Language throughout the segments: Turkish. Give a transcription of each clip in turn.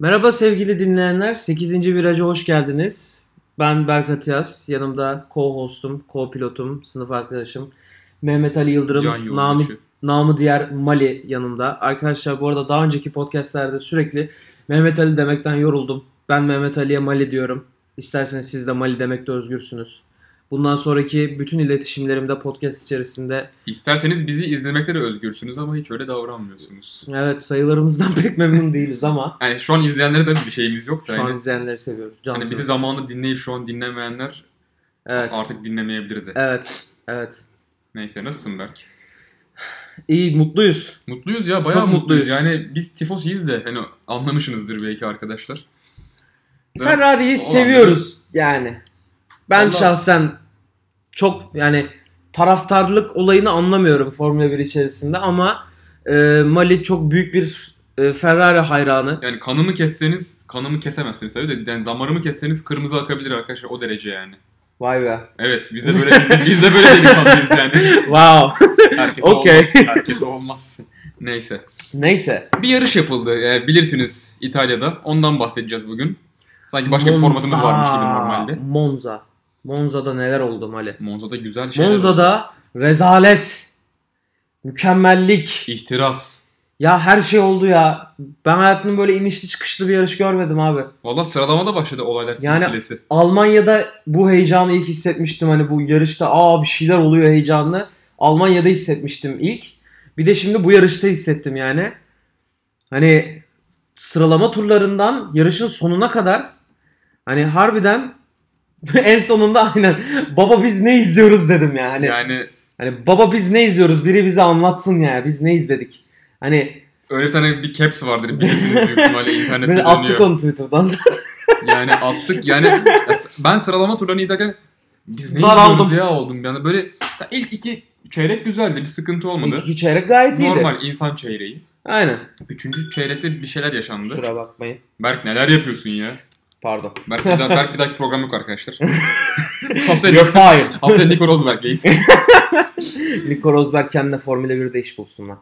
Merhaba sevgili dinleyenler. 8. viraja hoş geldiniz. Ben Berk Atiyaz. Yanımda co-hostum, co-pilotum, sınıf arkadaşım Mehmet Ali Can Yıldırım, namı, Yoldaşı. namı diğer Mali yanımda. Arkadaşlar bu arada daha önceki podcastlerde sürekli Mehmet Ali demekten yoruldum. Ben Mehmet Ali'ye Mali diyorum. İsterseniz siz de Mali demekte özgürsünüz. Bundan sonraki bütün iletişimlerimde podcast içerisinde İsterseniz bizi izlemekte de özgürsünüz ama hiç öyle davranmıyorsunuz. evet sayılarımızdan pek memnun değiliz ama Yani şu an izleyenlere tabii bir şeyimiz yok da. şu an yani, izleyenleri seviyoruz. hani Cansınız. bizi zamanında dinleyip şu an dinlemeyenler evet. artık dinlemeyebilirdi. Evet. Evet. Neyse nasılsın Berk? İyi mutluyuz. Mutluyuz ya bayağı Çok mutluyuz. mutluyuz. Yani biz tifosiyiz de hani anlamışsınızdır belki arkadaşlar. Ee, Ben- Ferrari'yi Olan seviyoruz yani. Ben Vallahi- şahsen çok yani taraftarlık olayını anlamıyorum Formula 1 içerisinde ama e, Mali çok büyük bir e, Ferrari hayranı. Yani kanımı kesseniz, kanımı kesemezsiniz tabii de yani damarımı kesseniz kırmızı akabilir arkadaşlar o derece yani. Vay be. Evet biz de böyle biz de, biz de böyle delikanlıyız yani. Wow. Herkes Okey. olmaz. Herkes olmaz. Neyse. Neyse. Bir yarış yapıldı. e, bilirsiniz İtalya'da. Ondan bahsedeceğiz bugün. Sanki başka bir Monza. formatımız varmış gibi normalde. Monza. Monza'da neler oldu Mali? Monza'da güzel şeyler. oldu. Monza'da rezalet. Mükemmellik. ihtiras. Ya her şey oldu ya. Ben hayatımda böyle inişli çıkışlı bir yarış görmedim abi. Valla sıralamada başladı olaylar Yani- silsilesi. Almanya'da bu heyecanı ilk hissetmiştim. Hani bu yarışta aa bir şeyler oluyor heyecanlı. Almanya'da hissetmiştim ilk. Bir de şimdi bu yarışta hissettim yani. Hani sıralama turlarından yarışın sonuna kadar hani harbiden en sonunda aynen baba biz ne izliyoruz dedim yani. Hani, Yani hani baba biz ne izliyoruz biri bize anlatsın ya biz ne izledik. Hani öyle bir tane bir caps vardır bilirsiniz büyük ihtimalle internette böyle attık dönüyor. onu Twitter'dan. Yani attık yani Ya s- ben sıralama turlarını izlerken biz ne Daraldım. izliyoruz ya oldum yani böyle ya ilk iki çeyrek güzeldi bir sıkıntı olmadı. İki çeyrek gayet iyiydi. Normal insan çeyreği. Aynen. Üçüncü çeyrekte bir şeyler yaşandı. Kusura bakmayın. Berk neler yapıyorsun ya? Pardon. Berk bir, daha, Berk bir dahaki program yok arkadaşlar. haftaya, You're fired. haftaya Nico Rosberg geyiz. Nico Rosberg kendine Formula 1'de iş bulsun lan.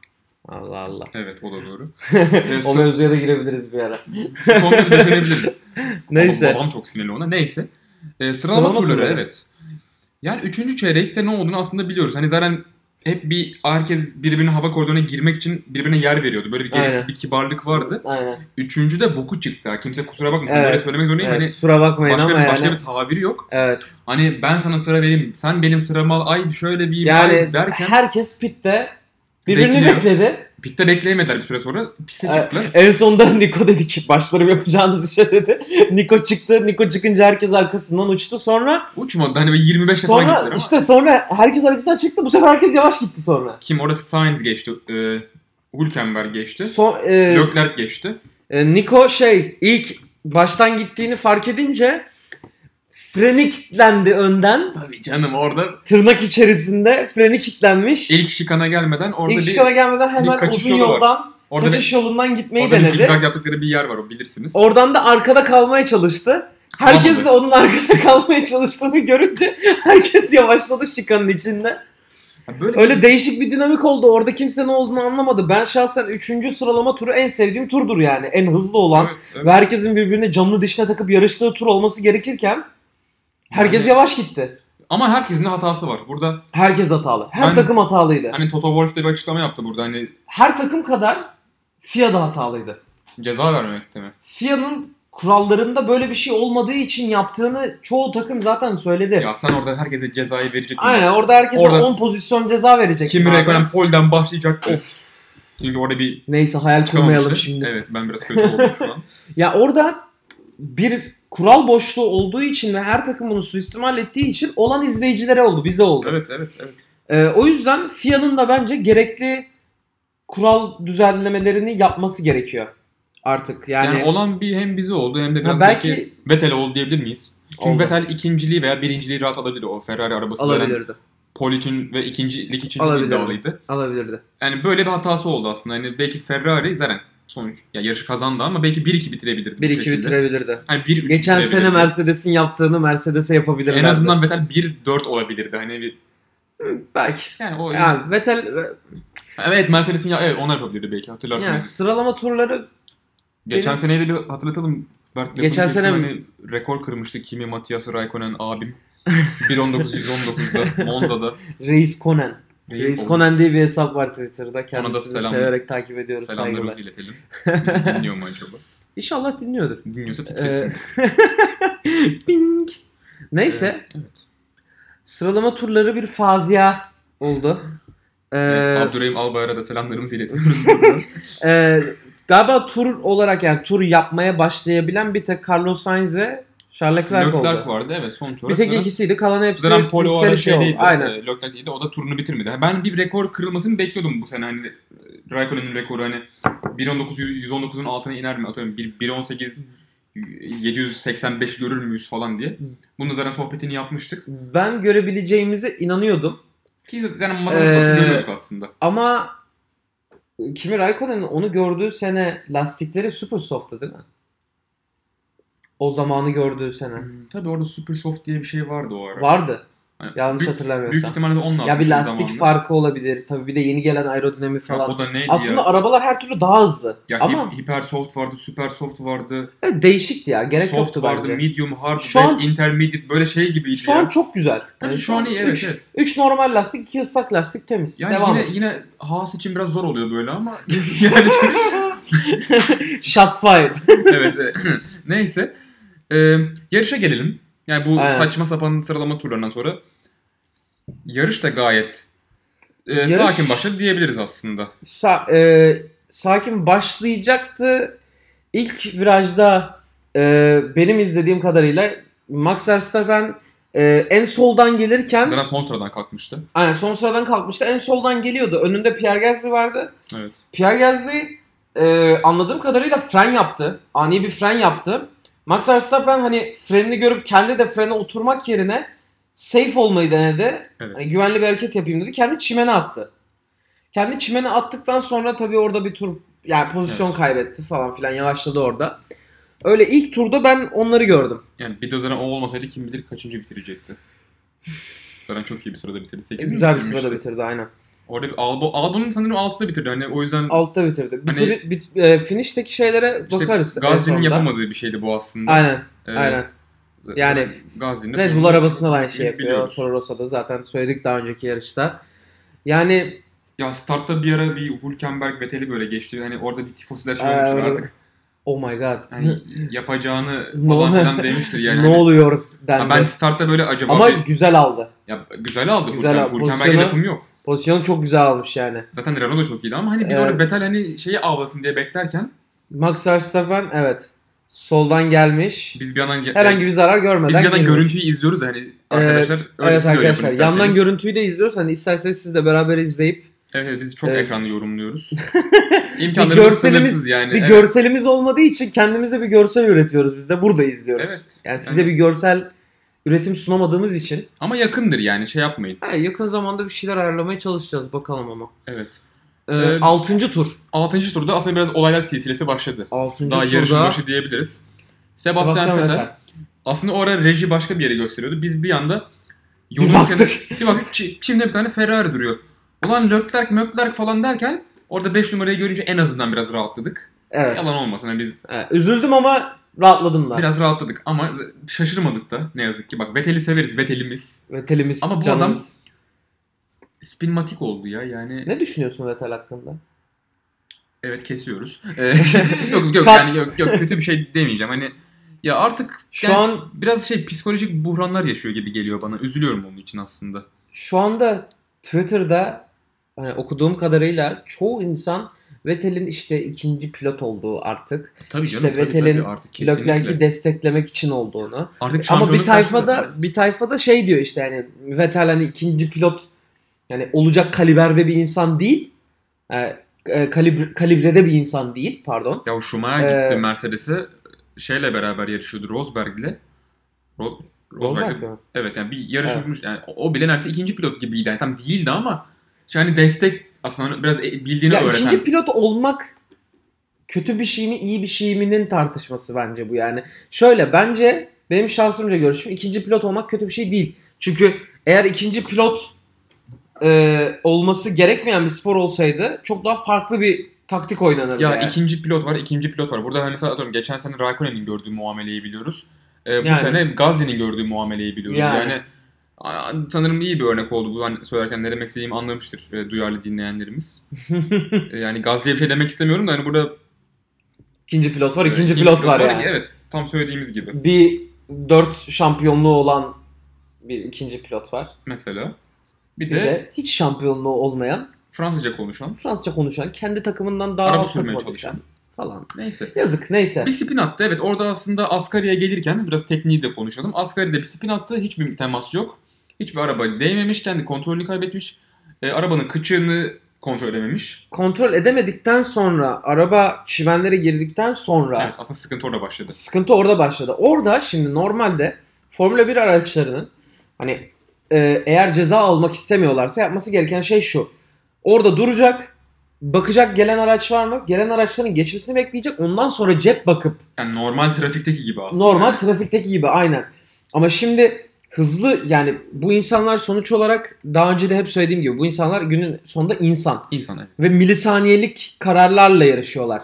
Allah Allah. evet o da doğru. o son- mevzuya da girebiliriz bir ara. Sonunda düşünebiliriz. Neyse. Babam çok sinirli ona. Neyse. Ee, sıralama, Sıralama turları, turları. evet. Yani üçüncü çeyrekte ne olduğunu aslında biliyoruz. Hani zaten hep bir herkes birbirine hava koridoruna girmek için birbirine yer veriyordu. Böyle bir gereksiz Aynen. bir kibarlık vardı. Aynen. Üçüncü de boku çıktı. ha. Kimse kusura bakmasın. Evet. Böyle söylemek zorundayım. Evet, kusura Hani bakmayın başka, ama bir, başka yani. bir tabiri yok. Evet. Hani ben sana sıra vereyim, sen benim sıramı al, ay şöyle bir ay Yani derken herkes pitte birbirini Bekliyor. bekledi. pitte bekleyemediler bir süre sonra. Pise Evet. çıktılar. En sonunda Nico dedi ki başlarım yapacağınız işe dedi. Nico çıktı. Nico çıkınca herkes arkasından uçtu. Sonra Uçmadı hani böyle 25 defa sonra gittiler ama işte sonra herkes arkasından çıktı. Bu sefer herkes yavaş gitti sonra. kim orası Sainz geçti, e, Hülkenberg geçti, Son, e, Leclerc geçti. E, Niko şey ilk baştan gittiğini fark edince freni kilitlendi önden. Tabii canım orada Tırnak içerisinde freni kilitlenmiş. ilk şikana gelmeden orada İlk bir şikana gelmeden bir hemen kaçış uzun yolu var. yoldan orada bir, kaçış yolundan gitmeyi orada bir denedi. zigzag yaptıkları bir yer var o bilirsiniz. Oradan da arkada kalmaya çalıştı. Herkes de onun arkada kalmaya çalıştığını görünce herkes yavaşladı şikanın içinde. Yani böyle Öyle değişik bir dinamik oldu. Orada kimse ne olduğunu anlamadı. Ben şahsen 3. sıralama turu en sevdiğim turdur yani. En hızlı olan, Evet, evet. ve herkesin birbirine camını dişine takıp yarıştığı tur olması gerekirken herkes Yani- yavaş gitti. Ama herkesin de hatası var. Burada Herkes hatalı. Her Ben- takım hatalıydı. hani Toto Wolff de bir açıklama yaptı burada hani Her takım kadar FIA da hatalıydı. ceza vermemekte mi? FIA'nın kurallarında böyle bir şey olmadığı için yaptığını çoğu takım zaten söyledi. Ya sen orada herkese cezayı verecek. Aynen orada herkese Orada- 10 pozisyon ceza verecek. Kimi abi. Räikkönen polden başlayacak. Of. Çünkü orada bir Neyse hayal kurmayalım çıkamamıştı. şimdi. Evet ben biraz kötü oldum şu an. Ya orada bir kural boşluğu olduğu için ve her takım bunu suistimal ettiği için olan izleyicilere oldu, bize oldu. Evet evet evet. Ee, o yüzden FIA'nın da bence gerekli kural düzenlemelerini yapması gerekiyor artık. Yani, Yani, olan bir hem bize oldu hem de biraz Ha, belki- belki Vettel oldu diyebilir miyiz? Çünkü Oldu. Vettel ikinciliği veya birinciliği rahat alabilir o Ferrari arabası veren alabilirdi. pol için ve ikincilik için çok Alabilirdi. iddialıydı. Alabilirdi. Yani böyle bir hatası oldu aslında. Hani belki Ferrari zaten sonuç ya yarışı kazandı ama belki 1-2 bitirebilirdi. bu 1-2 şekilde. bitirebilirdi. Hani 1-3 Geçen sene bitirebilirdi. Mercedes'in yaptığını Mercedes'e yapabilirlerdi. en azından Vettel 1-4 olabilirdi. Hani bir, belki. yani o Yani Vettel evet Mercedes'in ya evet onlar yapabilirdi belki hatırlarsınız. yani sıralama turları Geçen Benim- seneyi de bir hatırlatalım. Bert lafını Geçen kestim. sene- hani rekor kırmıştı Kimi Matias Raikkonen abim. 1.19.119'da Monza'da. Reis Conan. Reis Onu- Conan diye bir hesap var Twitter'da. da Kendisini selam- severek takip ediyoruz. Selamlarımızı Saygılar. iletelim. Bizi dinliyor mu acaba? İnşallah dinliyordur. Dinliyorsa titretsin. Ee, Ping. Neyse. Ee, Evet. Sıralama turları bir fazia oldu. Ee, evet. Abdurrahim Albayar'a da selamlarımızı iletiyoruz. buradan. e, galiba tur olarak yani tur yapmaya başlayabilen bir tek Carlos Sainz ve Charles Leclerc oldu. Leclerc vardı evet sonuç Bir olarak. tek zaten- ikisiydi. Kalan hepsi Zaten Polo o ara şey diskalifiye oldu. şeydeydi. Aynen. Aynen. Leclerc'teydi. O da turunu bitirmedi. Ben bir rekor kırılmasını bekliyordum bu sene. Hani e, Raikkonen'in rekoru hani 1.19 119'un altına iner mi? Atıyorum bir- 1.18 785 görür müyüz falan diye. Bunun zaten sohbetini yapmıştık. Ben görebileceğimize inanıyordum. Ki zaten matematikte Ee, görüyorduk aslında. Ama Kimi Raikkonen'in onu gördüğü sene lastikleri super soft'tu değil mi? O zamanı gördüğü sene. Hmm, Tabii orada Super Soft diye bir şey vardı o ara. Vardı. Hani Yanlış büyük, hatırlamıyorsam. Büyük ihtimalle de onunla ya bir atmışız lastik zamanında. farkı olabilir. Tabii bir de yeni gelen aerodinami Ya falan. O da neydi Aslında ya? arabalar her türlü daha hızlı. Ya Ama hi- Hyper Soft vardı, Super Soft vardı, evet, değişikti ya. Gerek Soft yoktu vardı, bence. Medium, Hard, Şu wet, an- Intermediate böyle şey gibiydi Şu ya. an çok güzel. Tabii Yani şu an iyi, evet, 3 evet. normal lastik, 2 ıslak lastik temiz. Yani Devam yine et. yine Haas için biraz zor oluyor böyle ama yani çok- Shots fired. evet e, neyse Ee, yarışa gelelim. Yani bu Aynen. saçma sapan sıralama turlarından sonra yarış da gayet e, Yarış- sakin başladı diyebiliriz aslında. Sa- e, sakin başlayacaktı. İlk virajda e, benim izlediğim kadarıyla Max Verstappen e, en soldan gelirken Zaten son sıradan kalkmıştı. aynen son sıradan kalkmıştı. En soldan geliyordu. Önünde Pierre Gasly vardı. Evet. Pierre Gasly e, anladığım kadarıyla fren yaptı. Ani bir fren yaptı. Max Verstappen hani frenini görüp kendi de frene oturmak yerine safe olmayı denedi. Evet. Hani güvenli bir hareket yapayım dedi. Kendi çimene attı. Kendi çimene attıktan sonra tabii orada bir tur yani pozisyon Evet. kaybetti falan filan yavaşladı orada. Öyle ilk turda ben onları gördüm. Yani bir de zaten o olmasaydı kim bilir kaçıncı bitirecekti. Zaten çok iyi bir sırada bitirdi. 8 E, Güzel bir sırada bitirdi aynen. Orada bir Albo, Albo'nun sanırım altta bitirdi. Hani o yüzden Altta bitirdi. Hani- Bitiri, bit- e, finişteki şeylere işte bakarız. en Gazi'nin sonunda. yapamadığı bir şeydi bu aslında. Aynen Ee, aynen. zaten Yani Gazi'nin Red de Bull sonunda- arabasına da aynı şey Biz yapıyor. biliyoruz. Toro Rosso'da zaten söyledik daha önceki yarışta. Yani Ya startta bir ara bir Hülkenberg Vettel'i böyle geçti. Hani orada bir tifosiler şey Ee, olmuştur orada- artık. oh my god Hani yapacağını Ne falan oluyor? filan demiştir yani. ne Hani- oluyor Ha, dendi. ben startta böyle acaba... Ama bir- güzel aldı. Ya, güzel aldı Güzel Hülkenberg. aldı. Hülkenberg'e Pozisyonu- lafım yok. Pozisyonu çok güzel almış yani. Zaten Renault da çok iyiydi ama hani biz Evet. orada Vettel hani şeyi avlasın diye beklerken Max Verstappen evet soldan gelmiş. biz bir yandan... ge- e, Herhangi bir zarar görmeden Biz bir yandan girmiş. görüntüyü izliyoruz hani arkadaşlar öyle Evet siz de öyle yapın arkadaşlar yandan isterseniz. görüntüyü de izliyoruz. Hani isterseniz siz de beraber izleyip Evet, evet, biz çok Evet. ekranlı yorumluyoruz. bir İmkanlarımız görselimiz sınırsız yani. bir Hani evet. görselimiz olmadığı için kendimize bir görsel üretiyoruz. Biz de burada izliyoruz. Evet. Yani size bir görsel üretim sunamadığımız için Ama yakındır yani şey yapmayın. Ha, yakın zamanda bir şeyler ayarlamaya çalışacağız bakalım ama. Evet. Ee, Ee, altıncı tur. 6. turda aslında biraz olaylar silsilesi başladı. Altıncı Daha turda yarışın başı diyebiliriz. Sebastian, Vettel. Aslında o ara reji başka bir yere gösteriyordu. Biz bir anda Bir kenarı- baktık. bir baktık Çi- Çin'de bir tane Ferrari duruyor. Ulan Leclerc, Möklerk falan derken orada 5 numarayı görünce en azından biraz rahatladık. Evet. Yalan olmasın hani biz Evet, Üzüldüm ama rahatladım da. biraz rahatladık ama z- şaşırmadık da ne yazık ki. Bak Vettel'i severiz Vettel'imiz. Vettel'imiz Ama bu canımız. Spinmatik oldu ya yani. Ne düşünüyorsun Vettel hakkında? Evet kesiyoruz. Ee, yok yok Kat. yani yok, yok kötü bir şey demeyeceğim. Hani ya artık Şu yani an biraz şey psikolojik buhranlar yaşıyor gibi geliyor bana. Üzülüyorum onun için aslında. şu anda Twitter'da hani okuduğum kadarıyla çoğu insan Vettel'in işte ikinci pilot olduğu artık. Tabii İşte canım tabii, Vettel'in tabii artık Leclerc'i kesinlikle. desteklemek için olduğunu. Artık Ama bir şampiyonluk tayfada karşısında- bir tayfada şey diyor işte yani Vettel hani ikinci pilot yani olacak kaliberde bir insan değil. E, e, kalibr- kalibrede bir insan değil pardon. Ya o Schumacher gitti Ee, Mercedes'e şeyle beraber yarışıyordu Rosberg'le. Ro- Rosberg'le. Olmak mı? Evet yani bir yarış Evet. yapmış. Yani o o bile neredeyse ikinci pilot gibiydi. Yani tam değildi ama şey hani destek aslında hani biraz e- bildiğini Ya öğreten. ikinci pilot olmak kötü bir şey mi iyi bir şey mi'nin tartışması bence bu yani. Şöyle bence benim şahsımca görüşüm ikinci pilot olmak kötü bir şey değil. Çünkü eğer ikinci pilot e, olması gerekmeyen bir spor olsaydı çok daha farklı bir taktik oynanır. Ya yani. ikinci pilot var, ikinci pilot var. Burada mesela atıyorum geçen sene Raikkonen'in gördüğü muameleyi biliyoruz. Ee, bu Yani. sene Gazze'nin gördüğü muameleyi biliyoruz. Yani. Yani. a- sanırım iyi bir örnek oldu. Bu hani söylerken ne demek istediğimi anlamıştır e, duyarlı dinleyenlerimiz. Ee, yani Gazze'ye bir şey demek istemiyorum da hani burada ikinci pilot var, e, ikinci, pilot, var yani. Evet, tam söylediğimiz gibi. Bir dört şampiyonluğu olan bir ikinci pilot var. Mesela bir, Bir de, de, hiç şampiyonluğu olmayan, Fransızca konuşan. Fransızca konuşan, kendi takımından daha Araba altta sürmeye konuşan çalışan. falan. Neyse. Yazık neyse. Bir spin attı. Evet orada aslında Asgari'ye gelirken biraz tekniği de konuşalım. Asgari'de bir spin attı. Hiçbir temas yok. Hiçbir araba değmemiş. Kendi kontrolünü kaybetmiş. E, arabanın kıçığını kontrol edememiş. Kontrol edemedikten sonra araba çimenlere girdikten sonra Evet aslında sıkıntı orada başladı. Sıkıntı orada başladı. Orada şimdi normalde Formula 1 araçlarının hani e, eğer ceza almak istemiyorlarsa yapması gereken şey şu. Orada duracak, bakacak gelen araç var mı? Gelen araçların geçmesini bekleyecek. Ondan sonra cep bakıp Yani normal trafikteki gibi aslında. normal Yani trafikteki gibi aynen. Ama şimdi hızlı yani bu insanlar sonuç olarak daha önce de hep söylediğim gibi bu insanlar günün sonunda insan insan evet. ve milisaniyelik kararlarla yarışıyorlar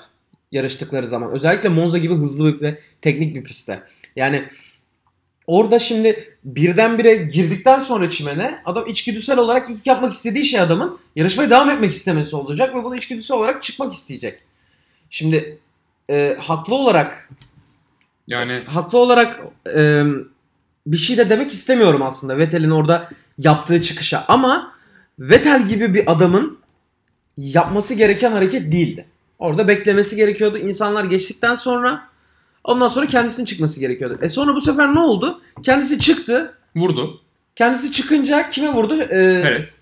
yarıştıkları zaman. Özellikle Monza gibi hızlı ve teknik bir pistte. Yani orada şimdi birdenbire girdikten sonra çimene adam içgüdüsel olarak ilk yapmak istediği şey adamın yarışmaya devam etmek istemesi olacak ve bunu içgüdüsel olarak çıkmak isteyecek. Şimdi e, haklı olarak Yani haklı olarak e, bir şey de demek istemiyorum aslında Vettel'in orada yaptığı çıkışa ama Vettel gibi bir adamın yapması gereken hareket değildi. Orada beklemesi gerekiyordu. İnsanlar geçtikten sonra ondan sonra kendisinin çıkması gerekiyordu. E sonra bu sefer ne oldu? Kendisi çıktı. vurdu. Kendisi çıkınca kime vurdu? E, Perez.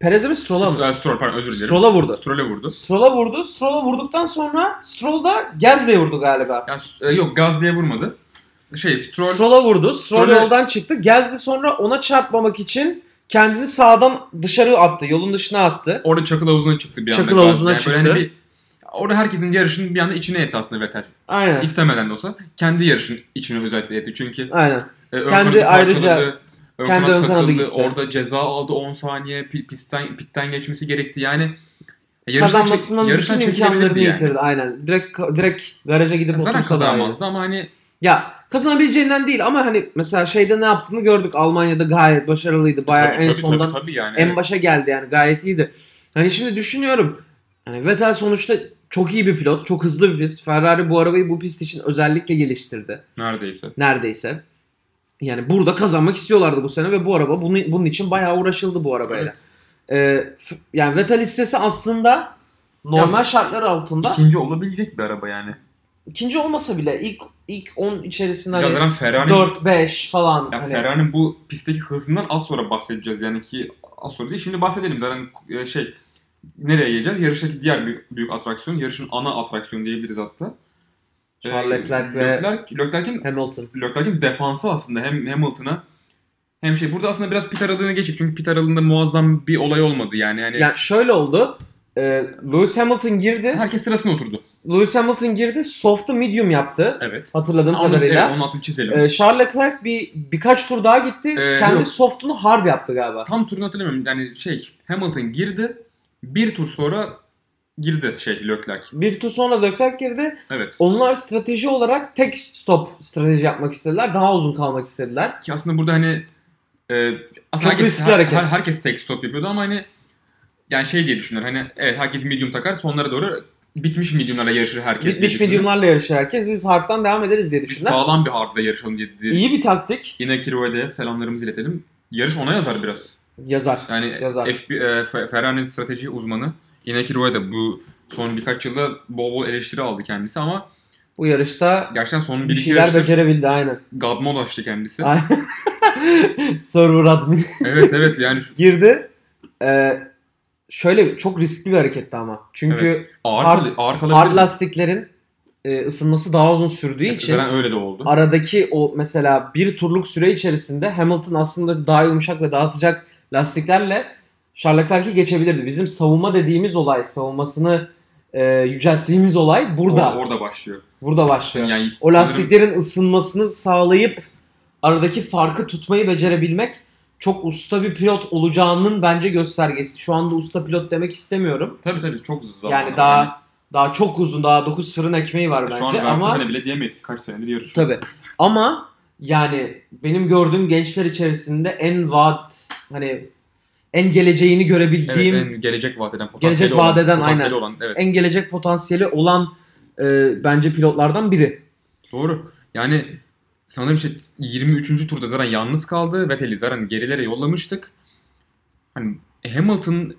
Perez'e mi Stroll'a mı? Stroll, Stroll pardon özür dilerim. Stroll'a vurdu. Stroll'e vurdu. Stroll'a vurdu. Stroll'a vurduktan sonra Stroll da Gezde'ye vurdu galiba. Yani, e, yok gaz diye vurmadı. Şey Stroll, Stroll'a vurdu. Stroll Stroll'e- yoldan çıktı. Gezdi sonra ona çarpmamak için kendini sağdan dışarı attı. Yolun dışına attı. orada çakıl havuzuna çıktı bir anda. Çakıl Gaz. havuzuna Yani böyle hani çıktı. bir- orada herkesin yarışının bir anda içine etti aslında Vettel. Aynen. İstemeden de olsa kendi yarışın içine özellikle etti. Çünkü Aynen. e, Kendi ön kanadı ayrıca- parçaladı, ön kendi kanat ön kanadı takıldı, gitti. orada ceza aldı 10 saniye, pi- pistten pitten geçmesi gerekti. Yani yarıştan, çek, Kazanmasının yarıştan bütün imkanlarını çekilebilirdi yani. yitirdi. Aynen. Direkt direkt garaja gidip Yani Zaten otursa da aynen. kazanmazdı ama hani Ya kazanabileceğinden değil ama hani mesela şeyde ne yaptığını gördük. Almanya'da gayet başarılıydı. Bayağı en sondan E, tabii, tabii yani. en başa geldi yani gayet iyiydi. Hani şimdi düşünüyorum. Hani Vettel sonuçta çok iyi bir pilot, çok hızlı bir pist. Ferrari bu arabayı bu pist için özellikle geliştirdi. Neredeyse. neredeyse. Yani burada kazanmak istiyorlardı bu sene ve bu araba bunu, bunun için bayağı uğraşıldı bu arabayla. Evet. Ee, f- yani Vettel listesi aslında normal şartlar altında İkinci olabilecek bir araba yani. ikinci olmasa bile ilk ilk 10 içerisinde hani Zaten Ferrari 4 5 falan Ya hani Ferrari'nin bu pistteki hızından az sonra bahsedeceğiz yani ki az sonra değil. Şimdi bahsedelim zaten e, şey nereye geleceğiz? Yarıştaki diğer büyük, büyük atraksiyon, yarışın ana atraksiyonu diyebiliriz hatta. E, Charles Leclerc ve- Leclerc- Leclerc'in Hamilton. Leclerc'in defansı aslında hem Hamilton'a hem şey burada aslında biraz pit aralığına geçip çünkü pit aralığında muazzam bir olay olmadı yani. Hani yani Yani şöyle oldu. Ee, Lewis Hamilton girdi. herkes sırasına oturdu. Lewis Hamilton girdi. Soft'u medium yaptı. Evet. Hatırladığım Onun, evet, kadarıyla. onun adını çizelim. Ee, Charles Leclerc bir birkaç tur daha gitti. Ee, Kendi yok. soft'unu hard yaptı galiba. Tam turunu hatırlamıyorum. Yani şey Hamilton girdi. Bir tur sonra girdi şey Leclerc. Bir tur sonra Leclerc girdi. Evet. Onlar strateji olarak tek stop strateji yapmak istediler. Daha uzun kalmak istediler. Ki aslında burada hani e, aslında Çok herkes, riskli hareket. her- herkes tek stop yapıyordu ama hani yani şey diye düşünür hani evet herkes medium takar sonlara doğru bitmiş mediumlara yarışır herkes diye Bitmiş düşünür. mediumlarla yarışır herkes. Biz hard'dan devam ederiz diye Biz düşündüler. sağlam bir hardla yarışalım diye. diye- İyi bir taktik. Yine Kiro'ya selamlarımızı iletelim. Yarış ona yazar biraz. Yazar. Yani Yazar. FB, e, Fe- Ferrari'nin strateji uzmanı Yine Kiro'ya da bu son birkaç yılda bol bol eleştiri aldı kendisi ama Bu yarışta gerçekten son bir bir iki şeyler yarışta becerebildi aynen. gadmod açtı kendisi. Ay- Server admin evet evet yani şu- girdi. Ee, şöyle bir- çok riskli bir hareketti ama. Çünkü evet. ağır, hard- kal- ağır hard kalabilir. lastiklerin e, ısınması daha uzun sürdüğü için Zaten öyle de oldu. aradaki o mesela bir turluk süre içerisinde Hamilton aslında daha yumuşak ve daha sıcak lastiklerle Charles Leclerc'i geçebilirdi. Bizim savunma dediğimiz olay, savunmasını e, yücelttiğimiz olay burada. O- orada başlıyor. burada başlıyor. o Yani sanırım lastiklerin ısınmasını sağlayıp aradaki farkı tutmayı becerebilmek çok usta bir pilot olacağının bence göstergesi. Şu anda usta pilot demek istemiyorum. Tabii tabii çok zamanı Yani var. daha Daha çok uzun daha 9-0'ın ekmeği var Şu an bence ama Verstappen'e bile diyemeyiz. Kaç senedir yarışıyor. tabi. Ama yani benim gördüğüm gençler içerisinde en vaat hani en geleceğini görebildiğim Evet, en gelecek vaat eden, potansiyeli Gelecek olan, vaat eden, potansiyeli olan, evet. en gelecek potansiyeli olan e, bence pilotlardan biri. Doğru. Yani sanırım işte 23. turda zaten yalnız kaldı. Vettel'i zaten gerilere yollamıştık. Hani Hamilton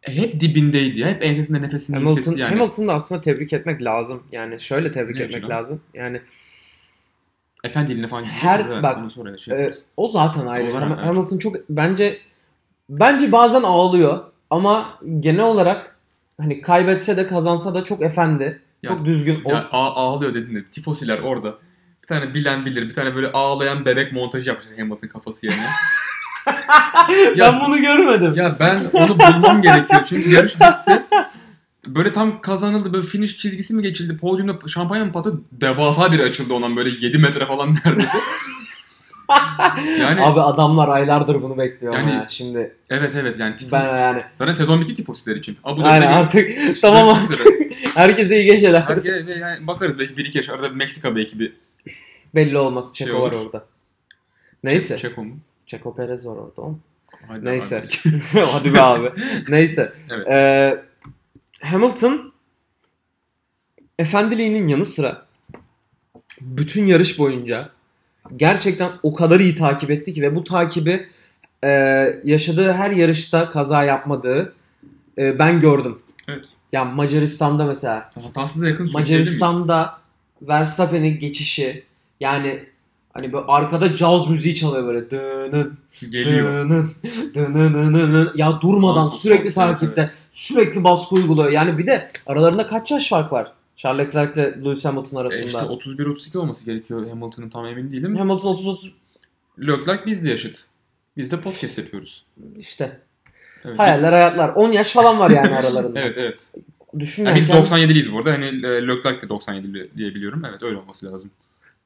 hep dibindeydi. Hep ensesinde nefesini Hamilton, hissetti yani. Hamilton'ı da aslında tebrik etmek lazım. Yani şöyle tebrik Ne etmek açıdan? lazım. Yani Efen diline falan gidiyor. Her- Evet, bak, onu sonra şey e, yaparız. o zaten ayrı. O zaten Ham- ayrı. Hamilton çok bence bence bazen ağlıyor ama genel olarak hani kaybetse de kazansa da çok efendi. Ya- çok düzgün. O- Ya, ağ- ağlıyor dedin de tifosiler orada. Bir tane bilen bilir. Bir tane böyle ağlayan bebek montajı yapmış Hamilton kafası yerine. ben bunu görmedim. Ya ben onu bulmam gerekiyor çünkü yarış bitti. Böyle tam kazanıldı böyle finish çizgisi mi geçildi? Podyumda şampanya mı patladı? Devasa bir açıldı ondan böyle 7 metre falan neredeyse. yani Abi adamlar aylardır bunu bekliyor ama Yani- ya. şimdi evet evet yani tifo, ben yani zaten sezon bitti tifosiler için. Abu Dhabi'de aynen gel- artık işte tamam görüşmek artık üzere. herkese iyi geceler. Her- ve yani bakarız belki bir iki yaş arada bir Meksika belki bir Belli olmaz Şey Çeko var olur. orada. Neyse. Çeko mu? Çeko Perez var orada. oğlum. Haydi Neyse. abi. Hadi be abi. Neyse. Evet. Ee, Hamilton efendiliğinin yanı sıra bütün yarış boyunca gerçekten o kadar iyi takip etti ki ve bu takibi e, yaşadığı her yarışta kaza yapmadığı e, ben gördüm. Evet. Yani Macaristan'da mesela Hatasıza yakın sürükleyelim miyiz? Macaristan'da Verstappen'in geçişi yani hani böyle arkada Jaws müziği çalıyor böyle dının Geliyor. Dının, dının, dının. Ya durmadan Çok- sürekli çok- takipte, evet. sürekli baskı uyguluyor. Yani bir de aralarında kaç yaş fark var? Charles Leclerc ile Lewis Hamilton E arasında. işte 31-32 olması gerekiyor Hamilton'ın tam emin değilim. Hamilton 30 30 Leclerc bizde yaşıt. Biz de podcast yapıyoruz. işte Evet. hayaller hayatlar. 10 yaş falan var yani aralarında. Evet evet. Düşün yani Yani biz kendi- 97'liyiz bu arada. Hani e, Leclerc de 97'li diye biliyorum. Evet öyle olması lazım.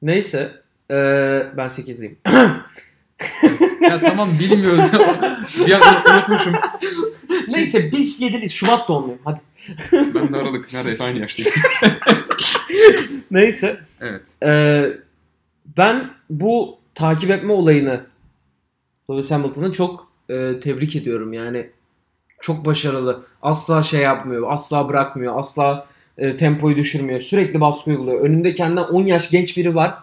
Neyse. Ee, ben 8'liyim. ya tamam bilmiyorum. bir an unutmuşum. Neyse biz 7'li Şubat doğumluyum. Hadi. Ben de aralık. Neredeyse aynı yaştayız. Neyse. evet. Ee, ben bu takip etme olayını Lewis Hamilton'ı çok e, tebrik ediyorum. Yani çok başarılı. Asla şey yapmıyor, asla bırakmıyor, asla e, tempoyu düşürmüyor. Sürekli baskı uyguluyor. Önünde kendinden 10 yaş genç biri var.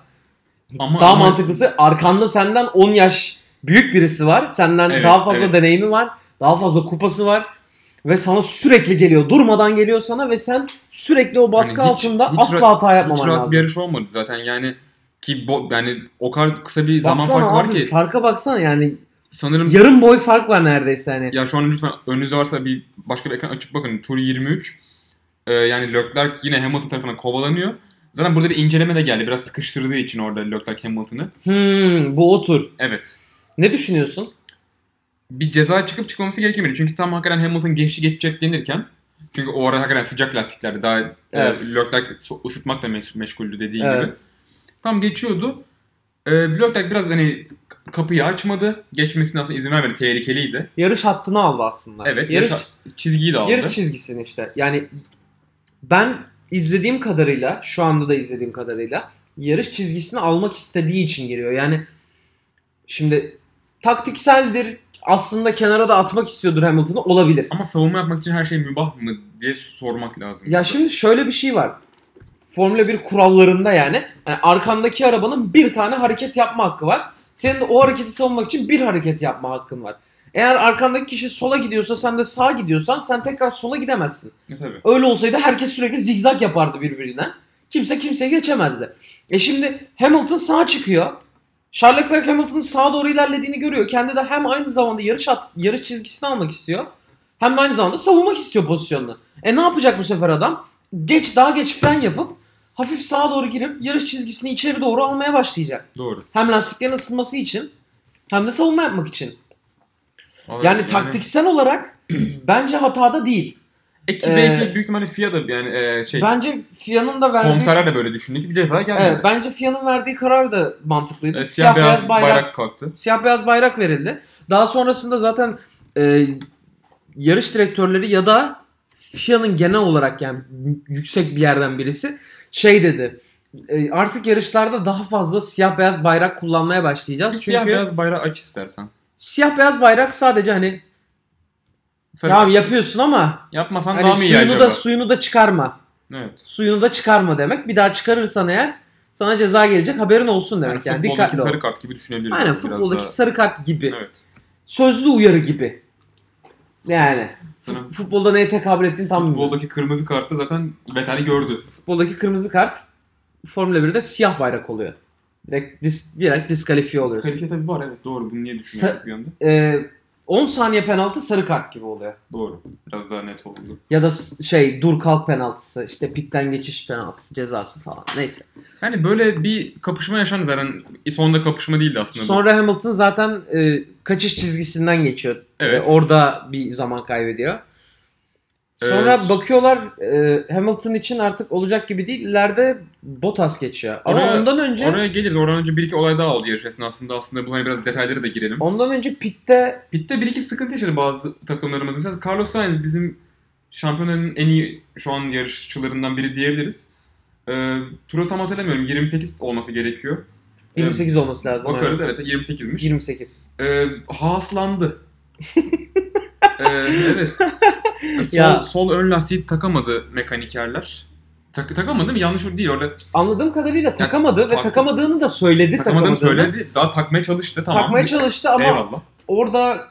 Ama, daha ama- mantıklısı arkanda senden 10 yaş büyük birisi var. Senden Evet, daha fazla evet. deneyimi var. Daha fazla kupası var. Ve sana sürekli geliyor. Durmadan geliyor sana ve sen sürekli o baskı Hani hiç- altında hiç asla rahat- hata yapmaman Hiç rahat lazım. bir yarış olmadı zaten yani. Ki bo- yani o kadar kısa bir zaman Baksana farkı var abi, ki Farka baksana yani sanırım yarım boy fark var neredeyse hani. Ya şu an lütfen önünüzde varsa bir başka bir ekran açıp bakın. Tur 23. Ee, yani Leclerc yine Hamilton tarafından kovalanıyor. Zaten burada bir inceleme de geldi. Biraz sıkıştırdığı için orada Leclerc Hamilton'ı. Hmm, bu otur. Evet. Ne düşünüyorsun? Bir ceza çıkıp çıkmaması gerekemedi. Çünkü tam hakikaten Hamilton geçti geçecek denirken. Çünkü o ara hakikaten sıcak lastiklerde daha e, Evet. Leclerc so- ısıtmakla meş- meşguldü dediği Evet. gibi. Tam geçiyordu. Ee, Leclerc biraz hani k- kapıyı açmadı. Geçmesine aslında izin vermedi. Tehlikeliydi. Yarış hattını aldı aslında. Evet. Yarış, yaşa- çizgiyi de aldı. yarış çizgisini işte. Yani ben izlediğim kadarıyla şu anda da izlediğim kadarıyla yarış çizgisini almak istediği için giriyor. Yani şimdi taktikseldir aslında kenara da atmak istiyordur Hamilton'ı olabilir. Ama savunma yapmak için her şey mübah mı diye sormak lazım. Ya şimdi şöyle bir şey var. Formula 1 kurallarında yani, yani arkandaki arabanın bir tane hareket yapma hakkı var. Senin de o hareketi savunmak için bir hareket yapma hakkın var. Eğer arkandaki kişi sola gidiyorsa sen de sağa gidiyorsan sen tekrar sola gidemezsin. Ya E, tabii. Öyle olsaydı herkes sürekli zigzag yapardı birbirinden. Kimse kimseye geçemezdi. E şimdi Hamilton sağa çıkıyor. Charles Leclerc Hamilton'ın sağa doğru ilerlediğini görüyor. Kendi de hem aynı zamanda yarış at, yarış çizgisini almak istiyor. Hem de aynı zamanda savunmak istiyor pozisyonunu. E ne yapacak bu sefer adam? Geç daha geç fren yapıp hafif sağa doğru girip yarış çizgisini içeri doğru almaya başlayacak. Doğru. Hem lastiklerin ısınması için hem de savunma yapmak için. Vallahi Yani taktiksel olarak bence hatada değil. E ki Ee, belki büyük ihtimalle FIA da yani e, şey Bence Fia'nın da verdiği komiserler de böyle düşündü ki bir ceza gelmedi. Evet, bence FIA'nın verdiği karar da mantıklıydı. E, siyah, beyaz, bayrak, kalktı. siyah beyaz bayrak verildi. Daha sonrasında zaten e, yarış direktörleri ya da FIA'nın genel olarak yani yüksek bir yerden birisi şey dedi. "E, Artık yarışlarda daha fazla siyah beyaz bayrak kullanmaya başlayacağız. Bir Çünkü siyah beyaz bayrağı aç istersen. siyah beyaz bayrak sadece hani Sarı- tamam yapıyorsun ama Yapmasan hani daha mı iyi suyunu acaba? da suyunu da çıkarma. evet. Suyunu da çıkarma demek. Bir daha çıkarırsan eğer sana ceza gelecek haberin olsun demek yani. yani futboldaki Dikkatli ol. sarı kart gibi düşünebiliriz. Aynen Biraz futboldaki daha- sarı kart gibi. Evet. Sözlü uyarı gibi. Yani Sana- fut- futbolda neye tekabül ettiğini tam bilmiyorum. Futboldaki kırmızı kartta zaten Vettel'i gördü. Futboldaki kırmızı kart Formula 1'de siyah bayrak oluyor. Direkt, dis, direkt diskalifiye oluyor. Kalifiye tabii var evet doğru bunu niye düşünüyorsun bir anda? Ee, 10 saniye penaltı sarı kart gibi oluyor. Doğru. Biraz daha net oldu. Ya da s- şey dur kalk penaltısı, işte pitten geçiş penaltısı, cezası falan. Neyse. Yani böyle bir kapışma yaşandı zaten. Sonunda kapışma değildi aslında. bu. Sonra Hamilton zaten e, kaçış çizgisinden geçiyor. evet. E, orada bir zaman kaybediyor. Ee, Sonra s- bakıyorlar e, Hamilton için artık olacak gibi değil. İleride Bottas geçiyor. Ama Oraya- ondan önce Oraya geliriz. Oradan önce bir iki olay daha oldu yarış esnasında. Aslında aslında bu hani biraz detaylara da girelim. ondan önce pitte Pitte bir iki sıkıntı yaşadı bazı takımlarımız. Mesela Carlos Sainz bizim şampiyonanın en iyi şu an yarışçılarından biri diyebiliriz. Ee, turu tam hatırlamıyorum. 28 olması gerekiyor. Ee, 28 olması lazım. bakarız evet. evet 28'miş. 28. Ee, haaslandı. Ee, evet. Sol, Ya. sol ön lastiği takamadı mekanikerler. Tak, takamadı değil mi? Yanlış değil orada. Anladığım kadarıyla takamadı ve taktı. takamadığını da söyledi Takamadığını takamadığını. söyledi. Daha takmaya çalıştı. Tamam. Takmaya çalıştı ama Eyvallah. orada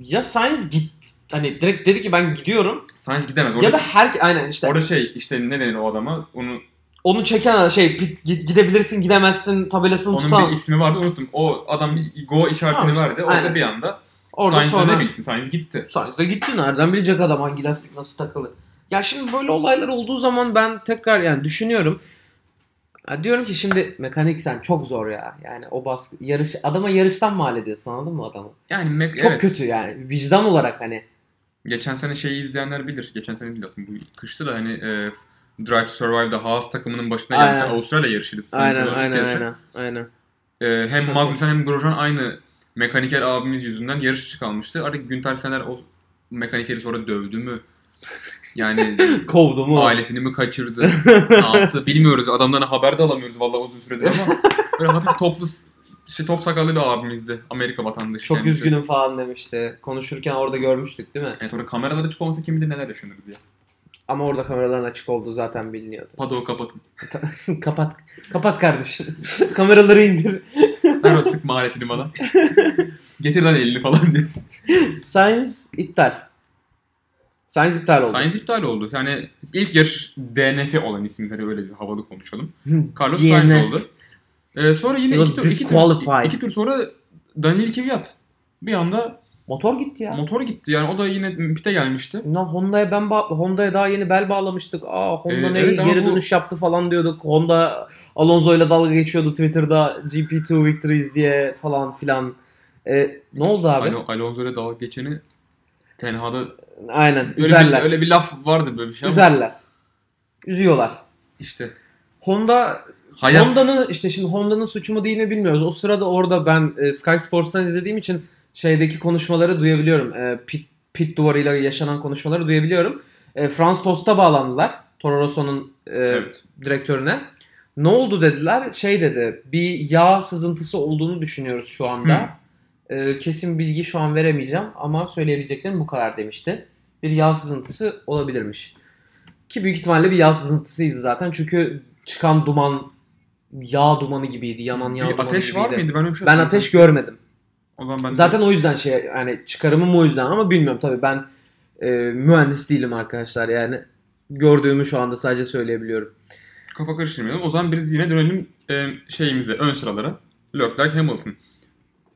ya Sainz git hani direkt dedi ki ben gidiyorum Sainz gidemez. Orada, ya da her aynen işte orada şey işte ne denir o adama? Onu, onu çeken şey pit git- gidebilirsin gidemezsin tabelasını onun tutan bir ismi vardı unuttum. O adam bir go işaretini Tamam işte, verdi. Orada aynen. bir anda orada Sainz'e sonra ne bilsin? Sainz gitti. Sainz de gitti nereden bilecek adam hangi lastik nasıl takılı. Ya şimdi böyle olaylar olduğu zaman ben tekrar yani düşünüyorum. Ya diyorum ki şimdi mekanik sen çok zor ya. Yani o baskı yarış adama yarıştan mal ediyorsun anladın mı adamı? Yani Mac- Çok evet. kötü yani vicdan olarak hani. Geçen sene şeyi izleyenler bilir. Geçen sene değil aslında. Bu kışta da hani e, Drive to Survive'da Haas takımının başına gelmiş Aynen. Avustralya yarışıydı. Sanırım Aynen sezonun ilk aynen yarışı. aynen. aynen. E, hem Çok Magnussen hem Grosjean aynı mekaniker abimiz yüzünden yarışçı kalmıştı. Artık Günter Sener o mekanikeri sonra dövdü mü? Yani Kovdu mu? ailesini mi kaçırdı? ne yaptı? Bilmiyoruz. Adamdan haber de alamıyoruz vallahi uzun süredir ama böyle hafif toplu işte top sakallı bir abimizdi. Amerika vatandaşı. Çok kendisi. üzgünüm falan demişti. Konuşurken orada görmüştük değil mi? Evet orada kameralar açık olmasa kim bilir neler yaşanır diye. Ama orada kameraların açık olduğu zaten biliniyordu. Padoğu kapatın. kapat. Kapat kardeşim. Kameraları indir. Ver o sık maharetini bana. Getir lan elini falan diye. Sainz iptal. Sainz iptal oldu. Sainz iptal oldu. Yani ilk yarış DNF olan isim. Hani öyle bir havalı konuşalım. Hı, Carlos DNF. Sainz oldu. Ee, sonra yine He was iki tur, iki, tur, disqualified. iki tur sonra Daniel Kvyat bir anda Motor gitti ya. motor gitti. Yani o da yine pite gelmişti. Ulan Honda'ya ben ba- Honda'ya daha yeni bel bağlamıştık. Aa Honda Ee, ne evet ama geri bu- dönüş yaptı falan diyorduk. Honda Alonso'yla dalga geçiyordu Twitter'da GP2 victories diye falan filan. Ee, ne oldu abi? Alo, Alonso ile dalga geçeni tenhada Aynen. öyle bir, Üzerler. öyle bir laf vardı böyle bir şey ama Üzerler. Üzüyorlar. işte Honda hayat Honda'nın işte şimdi Honda'nın suçu mu değil mi bilmiyoruz. O sırada orada ben e, Sky Sports'tan izlediğim için şeydeki konuşmaları duyabiliyorum. E, pit, pit duvarıyla yaşanan konuşmaları duyabiliyorum. E, Frans Tost'a bağlandılar. Toro Rosso'nun e, Evet. direktörüne. Ne oldu dediler? Şey dedi. Bir yağ sızıntısı olduğunu düşünüyoruz şu anda. E, kesin bilgi şu an veremeyeceğim ama söyleyebileceklerim bu kadar demişti. Bir yağ sızıntısı olabilirmiş. Ki büyük ihtimalle bir yağ sızıntısıydı zaten. Çünkü çıkan duman yağ dumanı gibiydi. Yanan yağ bir dumanı ateş gibiydi. var mıydı? Ben öyle bir şey Ben hatırlamıyorum. ateş görmedim. O zaman ben de- Zaten o yüzden şey yani çıkarımım o yüzden ama bilmiyorum tabii ben e, mühendis değilim arkadaşlar yani gördüğümü şu anda sadece söyleyebiliyorum. kafa karıştırmayalım. O zaman biz yine dönelim e, şeyimize, ön sıralara. Leclerc Hamilton.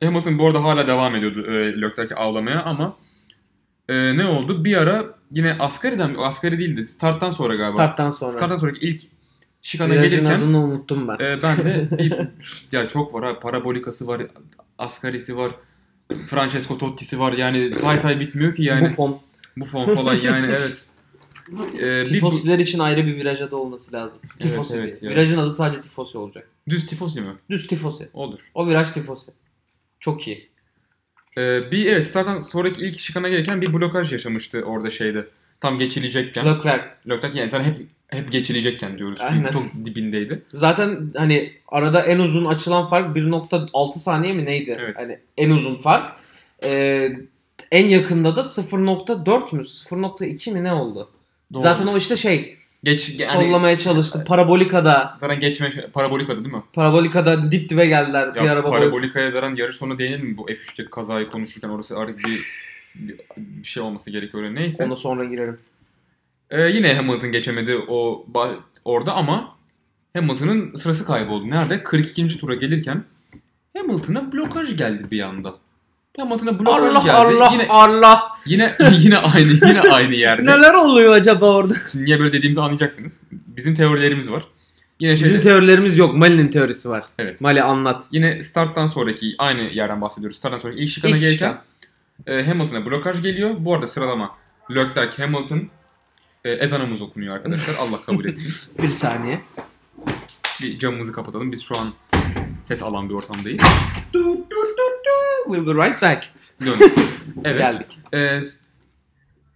Hamilton bu arada hala devam ediyordu e, Leclerc'i avlamaya ama e, ne oldu? Bir ara yine Asgari'den, Asgari değildi. Starttan sonra galiba. Starttan sonra. Starttan sonraki ilk şikana Virajın gelirken adını unuttum ben. e, ben de bir, ya çok var ha. Parabolikası var, Asgari'si var. Francesco Totti'si var. Yani say say bitmiyor ki yani. Bu fon. Bu fon falan yani evet. Ee, bir bu- Tifosiler için ayrı bir virajda olması lazım. Tifosi evet, diye. yani. Virajın adı sadece tifosi olacak. düz tifosi mi? Düz tifosi. Olur. O viraj tifosi. Çok iyi. Ee, bir evet zaten sonraki ilk şikana gelirken bir blokaj yaşamıştı orada şeyde. tam geçilecekken. Leclerc. Leclerc yani zaten hep hep geçilecekken diyoruz. Çünkü Aynen. çok dibindeydi. Zaten hani arada en uzun açılan fark 1.6 saniye mi neydi? Evet. Hani en uzun fark. Ee, en yakında da 0.4 mü 0.2 mi ne oldu? Doğru. Zaten o işte şey geç yani sollamaya çalıştı. Parabolika'da zaten geçme parabolikadı değil mi? Parabolika'da dip dibe geldiler Ya bir araba boyu. parabolikaya zaten yarış sonu değinelim mi bu F3'te kazayı konuşurken orası artık bir bir, bir şey olması gerekiyor öyle neyse. Ona sonra girelim. Ee, yine Hamilton geçemedi o ba- orada ama Hamilton'ın sırası kayboldu. Nerede? 42. tura gelirken Hamilton'a blokaj geldi bir anda. Hamilton'a blokaj Allah geldi. Allah Yine Allah. yine yine aynı yine aynı yerde. Neler oluyor acaba orada? Şimdi niye böyle dediğimizi anlayacaksınız. Bizim teorilerimiz var. Yine şey Bizim teorilerimiz yok. Mali'nin teorisi var. evet. Mali anlat. Yine starttan sonraki aynı yerden bahsediyoruz. Starttan sonraki ilk şikana İlk gelirken şikan. e, Hamilton'a blokaj geliyor. Bu arada sıralama Leclerc Hamilton e, ezanımız okunuyor arkadaşlar. Allah kabul etsin. Bir saniye. bir camımızı kapatalım. Biz şu an ses alan bir ortamdayız. Du, du, du, du. We'll be right back. Döndük. Evet. Geldik. E, s-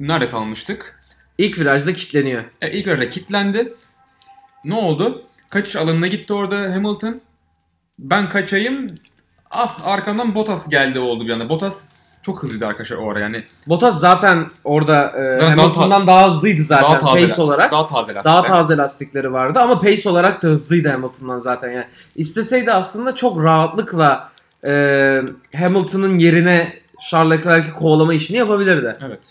nerede kalmıştık? İlk virajda kilitleniyor. E, ilk önce kilitlendi. Ne oldu? Kaçış alanına gitti orada Hamilton. Ben kaçayım. Ah arkamdan Bottas geldi oldu bir anda. Bottas çok hızlıydı arkadaşlar o ara yani. Bottas zaten orada e, Zaten Hamilton'dan daha hızlıydı zaten daha taze, pace olarak. Daha, Daha taze lastikler. taze lastikleri vardı ama pace olarak da hızlıydı Hamilton'dan zaten. Yani isteseydi aslında çok rahatlıkla e, Hamilton'ın yerine Charles Leclerc'i kovalama işini yapabilirdi. Evet.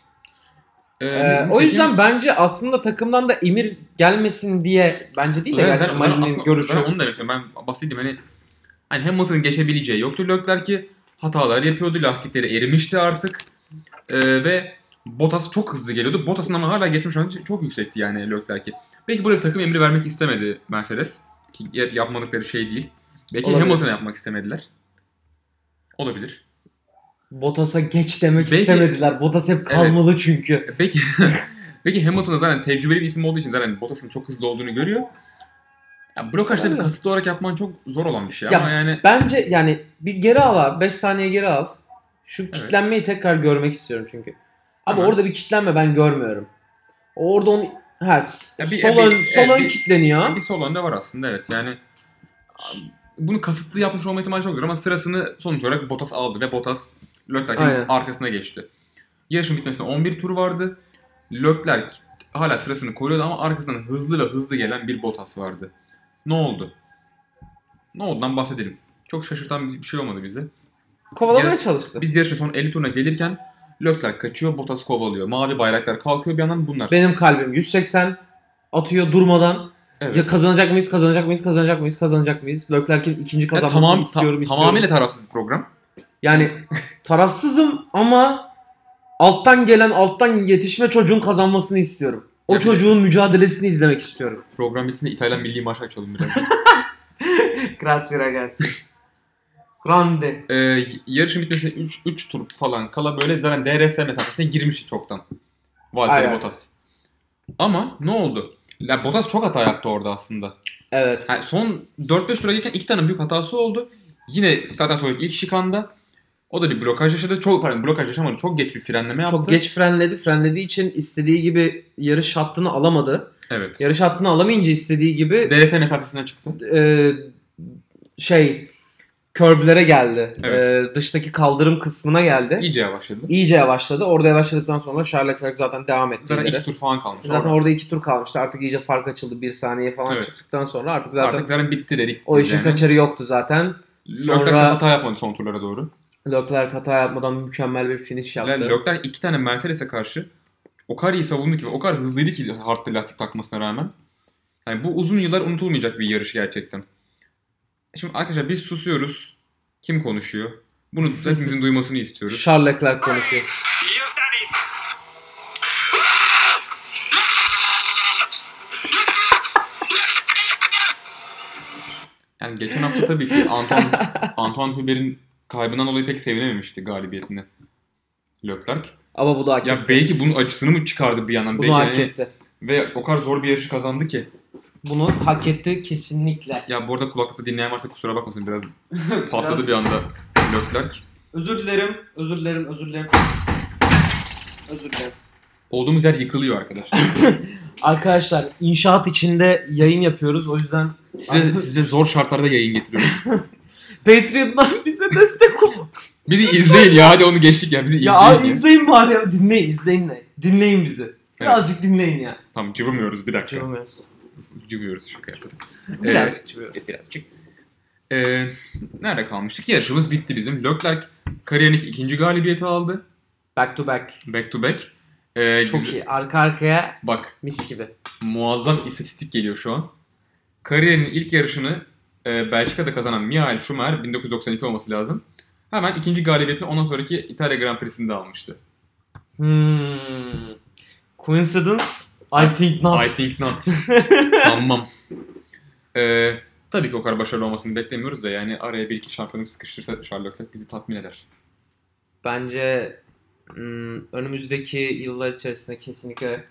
Ee, E, o yüzden bence aslında takımdan da emir gelmesin diye bence değil de Evet, gerçi ben- ben Marin'in aslında- görüşü. Ben onu demek istiyorum. Ben bahsedeyim hani, hani Hamilton'ın geçebileceği yoktu. Leclerc ki hatalar yapıyordu. Lastikleri erimişti artık. Ee, ve Bottas çok hızlı geliyordu. Bottas'ın ama hala geçmiş oranı çok yüksekti yani Leclerc'i. Belki buraya takım emri vermek istemedi Mercedes. Ki yap- yapmadıkları şey değil. Belki Olabilir. Hamilton'a yapmak istemediler. Olabilir. Bottas'a geç demek Belki- istemediler. Bottas hep kalmalı çünkü. E, Peki Peki Hamilton da zaten tecrübeli bir isim olduğu için zaten Bottas'ın çok hızlı olduğunu görüyor. Ya blokajları Evet. kasıtlı olarak yapman çok zor olan bir şey Ya, ama yani Bence yani bir geri al abi. 5 saniye geri al. Şu kitlenmeyi tekrar görmek istiyorum çünkü. Abi Tamam. orada bir kitlenme ben görmüyorum. Orada onu ha s- Ya bir- sol bir- ön e, sol ön bir- kitleniyor. bir sol önde var aslında evet yani bunu kasıtlı yapmış olma ihtimali çok zor ama sırasını sonuç olarak Bottas aldı ve Bottas Aynen. Leclerc'in arkasına geçti. Yarışın bitmesine 11 tur vardı. Leclerc hala sırasını koruyordu ama arkasından hızlı ve hızlı gelen bir Bottas vardı. Ne oldu? Ne oldu lan bahsedelim. Çok şaşırtan bir bir şey olmadı bize. Kovalamaya Ya- çalıştı. Biz yarışın son 50 turuna gelirken Leclerc kaçıyor, Bottas kovalıyor. Mavi bayraklar kalkıyor bir yandan bunlar. Benim kalbim 180 atıyor durmadan. Evet. Ya kazanacak mıyız? Kazanacak mıyız? Kazanacak mıyız? Kazanacak mıyız? Leclerc'in ikinci Ya kazanmasını tamam, istiyorum, ta- istiyorum. tamamıyla tarafsız bir program. Yani tarafsızım ama alttan gelen alttan yetişme çocuğun kazanmasını istiyorum. O Ya bir de- çocuğun mücadelesini izlemek istiyorum. Program bitsin de İtalyan milli marşı açalım biraz. Grazie ragazzi. Grande. Ee, yarışın bitmesine 3 3 tur falan kala böyle zaten DRS mesafesine girmiş çoktan. Valtteri Aynen. Bottas. Ama ne oldu? Ya Bottas çok hata yaptı orada aslında. Evet. Yani son 4-5 tura gelirken iki tane büyük hatası oldu. Yine zaten sonra ilk şikanda o da bir blokaj yaşadı. Çok pardon blokaj yaşamadı. Çok geç bir frenleme yaptı. Çok geç frenledi. Frenlediği için istediği gibi yarış hattını alamadı. Evet. Yarış hattını alamayınca istediği gibi DRS mesafesinden çıktı. e, şey körblere geldi. Evet. E, dıştaki kaldırım kısmına geldi. İyice yavaşladı. İyice yavaşladı. Orada yavaşladıktan sonra Charles Leclerc zaten devam etti. Zaten ileri. iki tur falan kalmış. Zaten Orada. orada iki tur kalmıştı. Artık iyice fark açıldı. Bir saniye falan Evet. çıktıktan sonra artık zaten Artık zaten bitti dedik. o işin kaçarı yoktu zaten. Leclerc de Sonra- hata yapmadı son turlara doğru. Leclerc hata yapmadan mükemmel bir finish yaptı. Yani Leclerc iki tane Mercedes'e karşı o kadar iyi savundu ki ve o kadar hızlıydı ki Hart'ta lastik takmasına rağmen. Yani bu uzun yıllar unutulmayacak bir yarış gerçekten. Şimdi arkadaşlar biz susuyoruz. Kim konuşuyor? Bunu hepimizin duymasını istiyoruz. Charles Leclerc konuşuyor. Yani geçen hafta tabii ki Antoine, Antoine Hubert'in kaybından dolayı pek sevinememişti galibiyetini. Leclerc. Ama bu da hak Ya etti. belki bunun acısını mı çıkardı bir yandan? Bunu belki hak hani- etti. Ve o kadar zor bir yarışı kazandı ki. Bunu hak etti kesinlikle. Ya bu arada kulaklıkta dinleyen varsa kusura bakmasın biraz Biraz- patladı bir anda Leclerc. Özür dilerim, özür dilerim, özür dilerim. Özür dilerim. olduğumuz yer yıkılıyor arkadaşlar. Arkadaşlar inşaat içinde yayın yapıyoruz. O yüzden Size, size zor şartlarda yayın getiriyoruz. Patreon'dan bize destek olun. Bizi izleyin ya hadi onu geçtik ya bizi ya izleyin. abi izleyin bari ya. Dinleyin izleyin ne? Dinleyin bizi. Birazcık dinleyin ya. Tamam cıvımıyoruz bir dakika. Çıkamıyoruz. Cıvıyoruz şaka yaptık. Birazcık çıkıyoruz. E, birazcık. Ee, nerede kalmıştık? Yarışımız bitti bizim. Leclerc kariyerin ikinci galibiyeti aldı. Back to back. Back to back. Ee, Çok güzel- iyi. Arka arkaya Bak mis gibi. muazzam istatistik geliyor şu an. Kariyerinin ilk yarışını e, Belçika'da kazanan Michael Schumacher 1992 olması lazım. Hemen ikinci galibiyetini ondan sonraki İtalya Grand Prix'sinde almıştı. Hmm. Coincidence? I think not. I think not. Sanmam. Ee, tabii ki o kadar başarılı olmasını beklemiyoruz da yani araya bir iki şampiyonluk sıkıştırsa Charles Leclerc bizi tatmin eder. Bence hmm, önümüzdeki yıllar içerisinde kesinlikle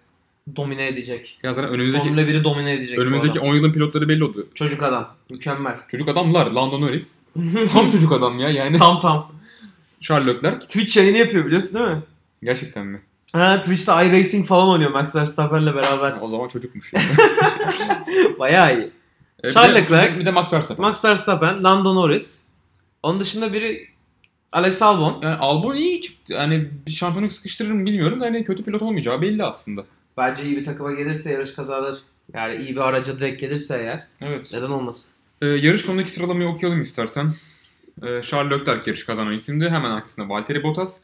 domine edecek. Ya zaten önümüzdeki Formula 1'i domine edecek. bu önümüzdeki adam. 10 yılın pilotları belli oldu. Çocuk adam. Mükemmel. Çocuk adamlar Lando Norris. Tam çocuk adam ya yani. tam tam. Charles Leclerc. Twitch yayını yapıyor biliyorsun değil mi? Gerçekten mi? Ha, Twitch'te iRacing falan oynuyor Max Verstappen'le beraber. O zaman çocukmuş. Yani. Bayağı iyi. Ee, bir de- Charles Leclerc. Bir de Max Verstappen. Max Verstappen, Lando Norris. Onun dışında biri Alex Albon. Yani Albon iyi çıktı. Yani bir şampiyonluk sıkıştırır mı bilmiyorum da hani kötü pilot olmayacağı belli aslında. Bence iyi bir takıma gelirse yarış kazanır. Yani iyi bir araca direkt gelirse eğer Evet. neden olmasın? Ee, yarış sonundaki sıralamayı okuyalım istersen. Ee, Charles Leclerc yarış kazanan isimdi. Hemen arkasında Valtteri Bottas.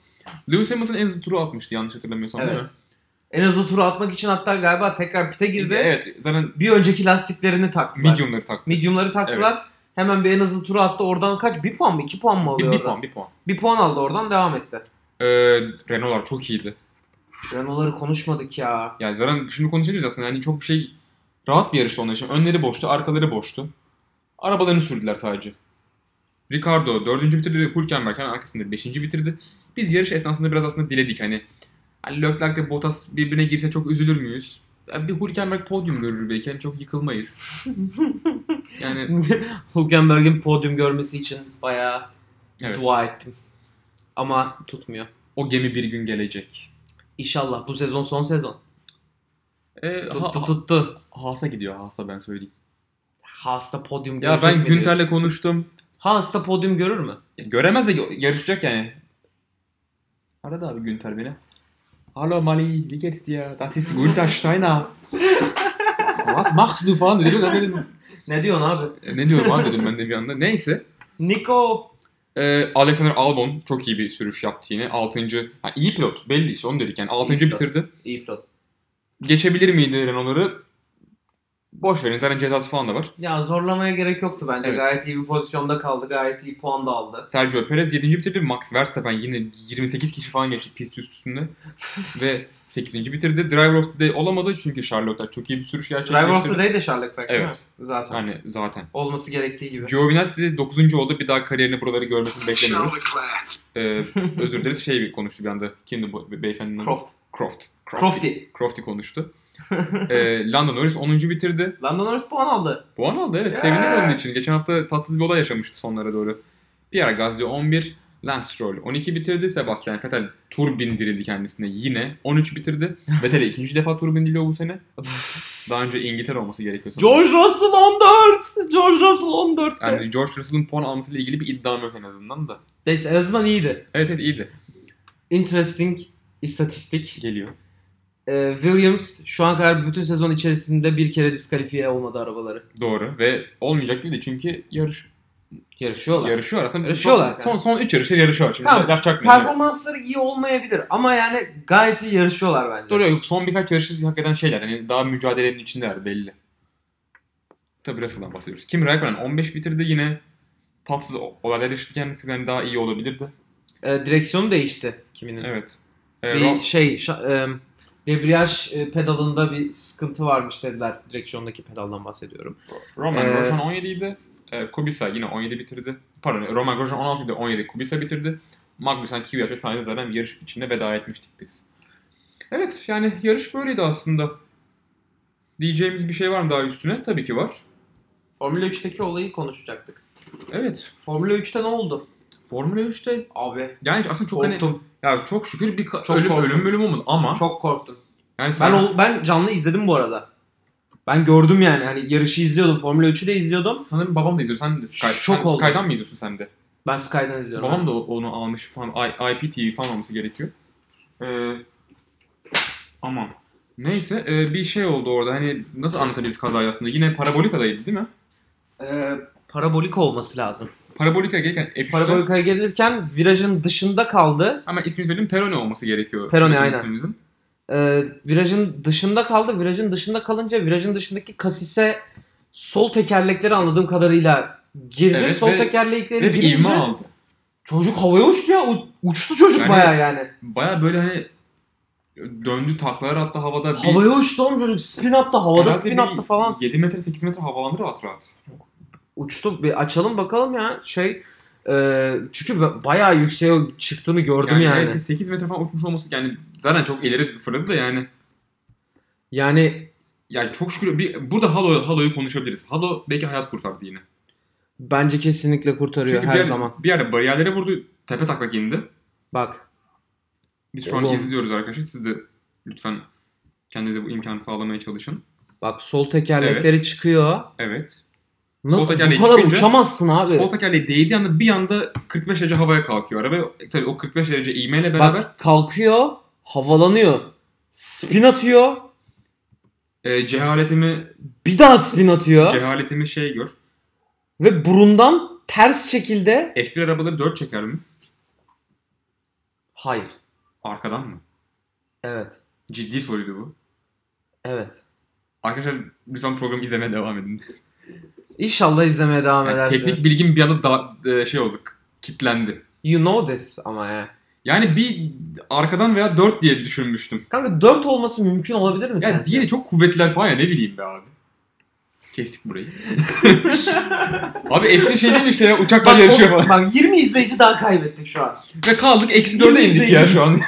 Lewis Hamilton en hızlı turu atmıştı yanlış hatırlamıyorsam değil Evet. mi? En hızlı turu atmak için hatta galiba tekrar pite girdi. Evet. Zaten Bir önceki lastiklerini taktılar. mediumları taktı. Medium'ları taktılar. Hemen bir en hızlı turu attı. Oradan kaç? Bir puan mı? İki puan mı Bir, alıyor bir oradan? puan bir puan. Bir puan aldı oradan devam etti. Ee, Renault'lar çok iyiydi. Renault'ları konuşmadık ya. Yani zaten şimdi konuşabiliriz aslında. Yani çok bir şey rahat bir yarıştı onlar için. Önleri boştu, arkaları boştu. Arabalarını sürdüler sadece. Ricardo dördüncü bitirdi. Hülkenberg hemen arkasında beşinci bitirdi. Biz yarış esnasında biraz aslında diledik hani. Hani Leclerc de Bottas birbirine girse çok üzülür müyüz? Ya bir Hülkenberg podyum görür belki. Hani çok yıkılmayız. yani Hülkenberg'in podyum görmesi için bayağı evet. dua ettim. Ama tutmuyor. O gemi bir gün gelecek. İnşallah bu sezon son sezon. Ee, ha, Tuttu tuttu. Haas'a gidiyor Haas'a ben söyleyeyim. Haas'ta podyum Ya görecek ben mi Günter'le diyorsun? konuştum. Haas'ta podyum görür mü? Ya Göremez de gö- yarışacak yani. Aradı abi Günter beni. Hallo Mali, wie geht's dir? Das ist Günter Steiner. Was machst du falan dedim. Ben dedim Ne diyorsun abi? "E, ne diyorum abi dedim ben de bir anda. Neyse. Nico Ee, Alexander Albon çok iyi bir sürüş yaptı yine. 6. Ha, iyi pilot belli işte onu dedik yani. 6. pilot. bitirdi. iyi pilot. Geçebilir miydi Renault'ları? Boş verin zaten cezası falan da var. Ya zorlamaya gerek yoktu bence. Evet. Gayet iyi bir pozisyonda kaldı. Gayet iyi puan da aldı. Sergio Perez 7. bitirdi. Max Verstappen yine 28 kişi falan geçti pist üstünde. Ve 8. bitirdi. Driver of the Day olamadı çünkü Charlotte çok iyi bir sürüş Driver of gerçekleştirdi. the Day de Charlotte Fleck değil mi? Evet. Zaten. Yani zaten. Olması gerektiği gibi. Giovinazzi 9. oldu. Bir daha kariyerine buraları görmesini Charles beklemiyoruz. Leclerc. Ee, özür dileriz. Şey bir konuştu bir anda. Kimdi bu be- beyefendinin? adı? Croft. Croft. Crofty. Crofty konuştu. ee, Lando Norris 10. bitirdi. Lando Norris puan aldı. Puan aldı evet. Yeah. Sevindim onun için. Geçen hafta tatsız bir olay yaşamıştı sonlara doğru. Pierre Gasly 11, Lance Stroll 12 bitirdi. Sebastian Vettel tur bindirildi kendisine yine. 13 bitirdi. Vettel'e ikinci defa tur bindiriyor bu sene. Daha önce İngiltere olması gerekiyor. sanırım. George Russell 14. George Russell 14. yani George Russell'ın puan almasıyla ilgili bir iddiam yok en azından da. Neyse en azından iyiydi. Evet evet iyiydi. Interesting istatistik. Geliyor. Ee, Williams şu an kadar bütün sezon içerisinde bir kere diskalifiye olmadı arabaları. Doğru ve olmayacak gibi de çünkü yarış Yarışıyorlar. yarışıyor aslında. Yarışıyorlar Son, son, son 3 yarışta yarışıyor şimdi. Tamam. Yapacak mı? Evet. Performansları iyi olmayabilir ama yani gayet iyi yarışıyorlar bence. Doğru yok son birkaç yarışı hak eden şeyler. Hani daha mücadelenin içindeler belli. Tabii Russell'dan bahsediyoruz. Kim Raikkonen 15 bitirdi yine. Tatsız olaylar yaşadı kendisi. Yani daha iyi olabilirdi. Ee, direksiyonu değişti kiminin. Evet. Ee, Bir Ro- şey şa- e, debriyaj e, pedalında bir sıkıntı varmış dediler. Direksiyondaki pedaldan bahsediyorum. Roman Ee, Grosjean 17 idi. Ee, Kubica yine 17 bitirdi. Pardon e, Roman Grosjean 16 idi 17 Kubica bitirdi. Magnussen, Kvyat ve Sainz zaten yarış içinde veda etmiştik biz. Evet yani yarış böyleydi aslında. Diyeceğimiz bir şey var mı daha üstüne? Tabii ki var. Formula 3'teki olayı konuşacaktık. Evet. Formula 3'te ne oldu? Formula 3'te Abi yani aslında çok hani korktum. Ya çok şükür bir ka- Çok ölüm, korktum. ölüm bölüm olmadı ama Çok korktum. Yani sen Ben ol- ben canlı izledim bu arada. Ben gördüm yani. Hani yarışı izliyordum. Formula 3'ü de izliyordum. sanırım babam da izliyor. Sen de Sky, Şok sen oldum. Sky'dan mı izliyorsun sen de? Ben Sky'dan izliyorum. Babam da o- onu almış falan. I- IPTV falan olması gerekiyor. Ee, aman. Neyse e, bir şey oldu orada. Hani nasıl anlatabiliriz kazayı aslında? Yine Parabolika'daydı değil mi? Ee, parabolik olması lazım. Parabolika gelirken F3'te Parabolika'ya gelirken virajın dışında kaldı. ama ismini söyleyeyim Perone olması gerekiyor. Perone, Metin aynen. ismimizin. Ee, virajın dışında kaldı. Virajın dışında kalınca virajın dışındaki kasise sol tekerlekleri anladığım kadarıyla girdi. Evet, sol ve- tekerlekleri Ve bir girince ivme aldı. çocuk havaya uçtu ya. U- uçtu çocuk Yani- bayağı yani. Baya böyle hani döndü taklalar attı havada. Bir, Havaya uçtu oğlum çocuk. Spin attı. Havada herhalde spin bir attı falan. 7 metre 8 metre havalandı rahat rahat. uçtu. Bir açalım bakalım ya. Şey e, çünkü ba- bayağı yükseğe çıktığını gördüm yani. Yani, bir 8 metre falan uçmuş olması yani zaten çok ileri fırladı da yani yani çok şükür bir, burada Halo Halo'yu konuşabiliriz. Halo belki hayat kurtardı yine. bence kesinlikle kurtarıyor Çünkü her bir, yer- zaman. bir yerde bariyerlere vurdu. Tepe taklak indi. Bak Biz şu an Oğlum. izliyoruz arkadaşlar. Siz de lütfen kendinize bu imkanı sağlamaya çalışın. bak sol tekerlekleri çıkıyor. Evet. Nasıl Sol tekerleği bu kadar çıkınca- uçamazsın abi. Sol tekerleği değdiği anda bir anda 45 derece havaya kalkıyor araba. Tabii o 45 derece ivmeyle beraber Bak kalkıyor, havalanıyor. Spin atıyor. e, cehaletimi Bir daha spin atıyor cehaletimi şey gör. ve burundan ters şekilde F1 arabaları 4 çeker mi? hayır. Arkadan mı? Evet. Ciddi soruydu bu. Evet. Arkadaşlar lütfen programı izlemeye devam edin. İnşallah izlemeye devam Yani edersiniz. teknik bilgim bir anda da, e, şey oldu. Kitlendi. You know this ama ya. Yani bir arkadan veya 4 diye düşünmüştüm. Kanka 4 olması mümkün olabilir mi Ya sence? diye çok kuvvetliler falan ya ne bileyim be abi. Kestik burayı. abi F1 şey değil mi işte ya uçaklar Bak, yarışıyor oğlum, falan. bak 20 izleyici daha kaybettik şu an. Ve kaldık eksi 4'e Yine indik ya izleyici. şu an.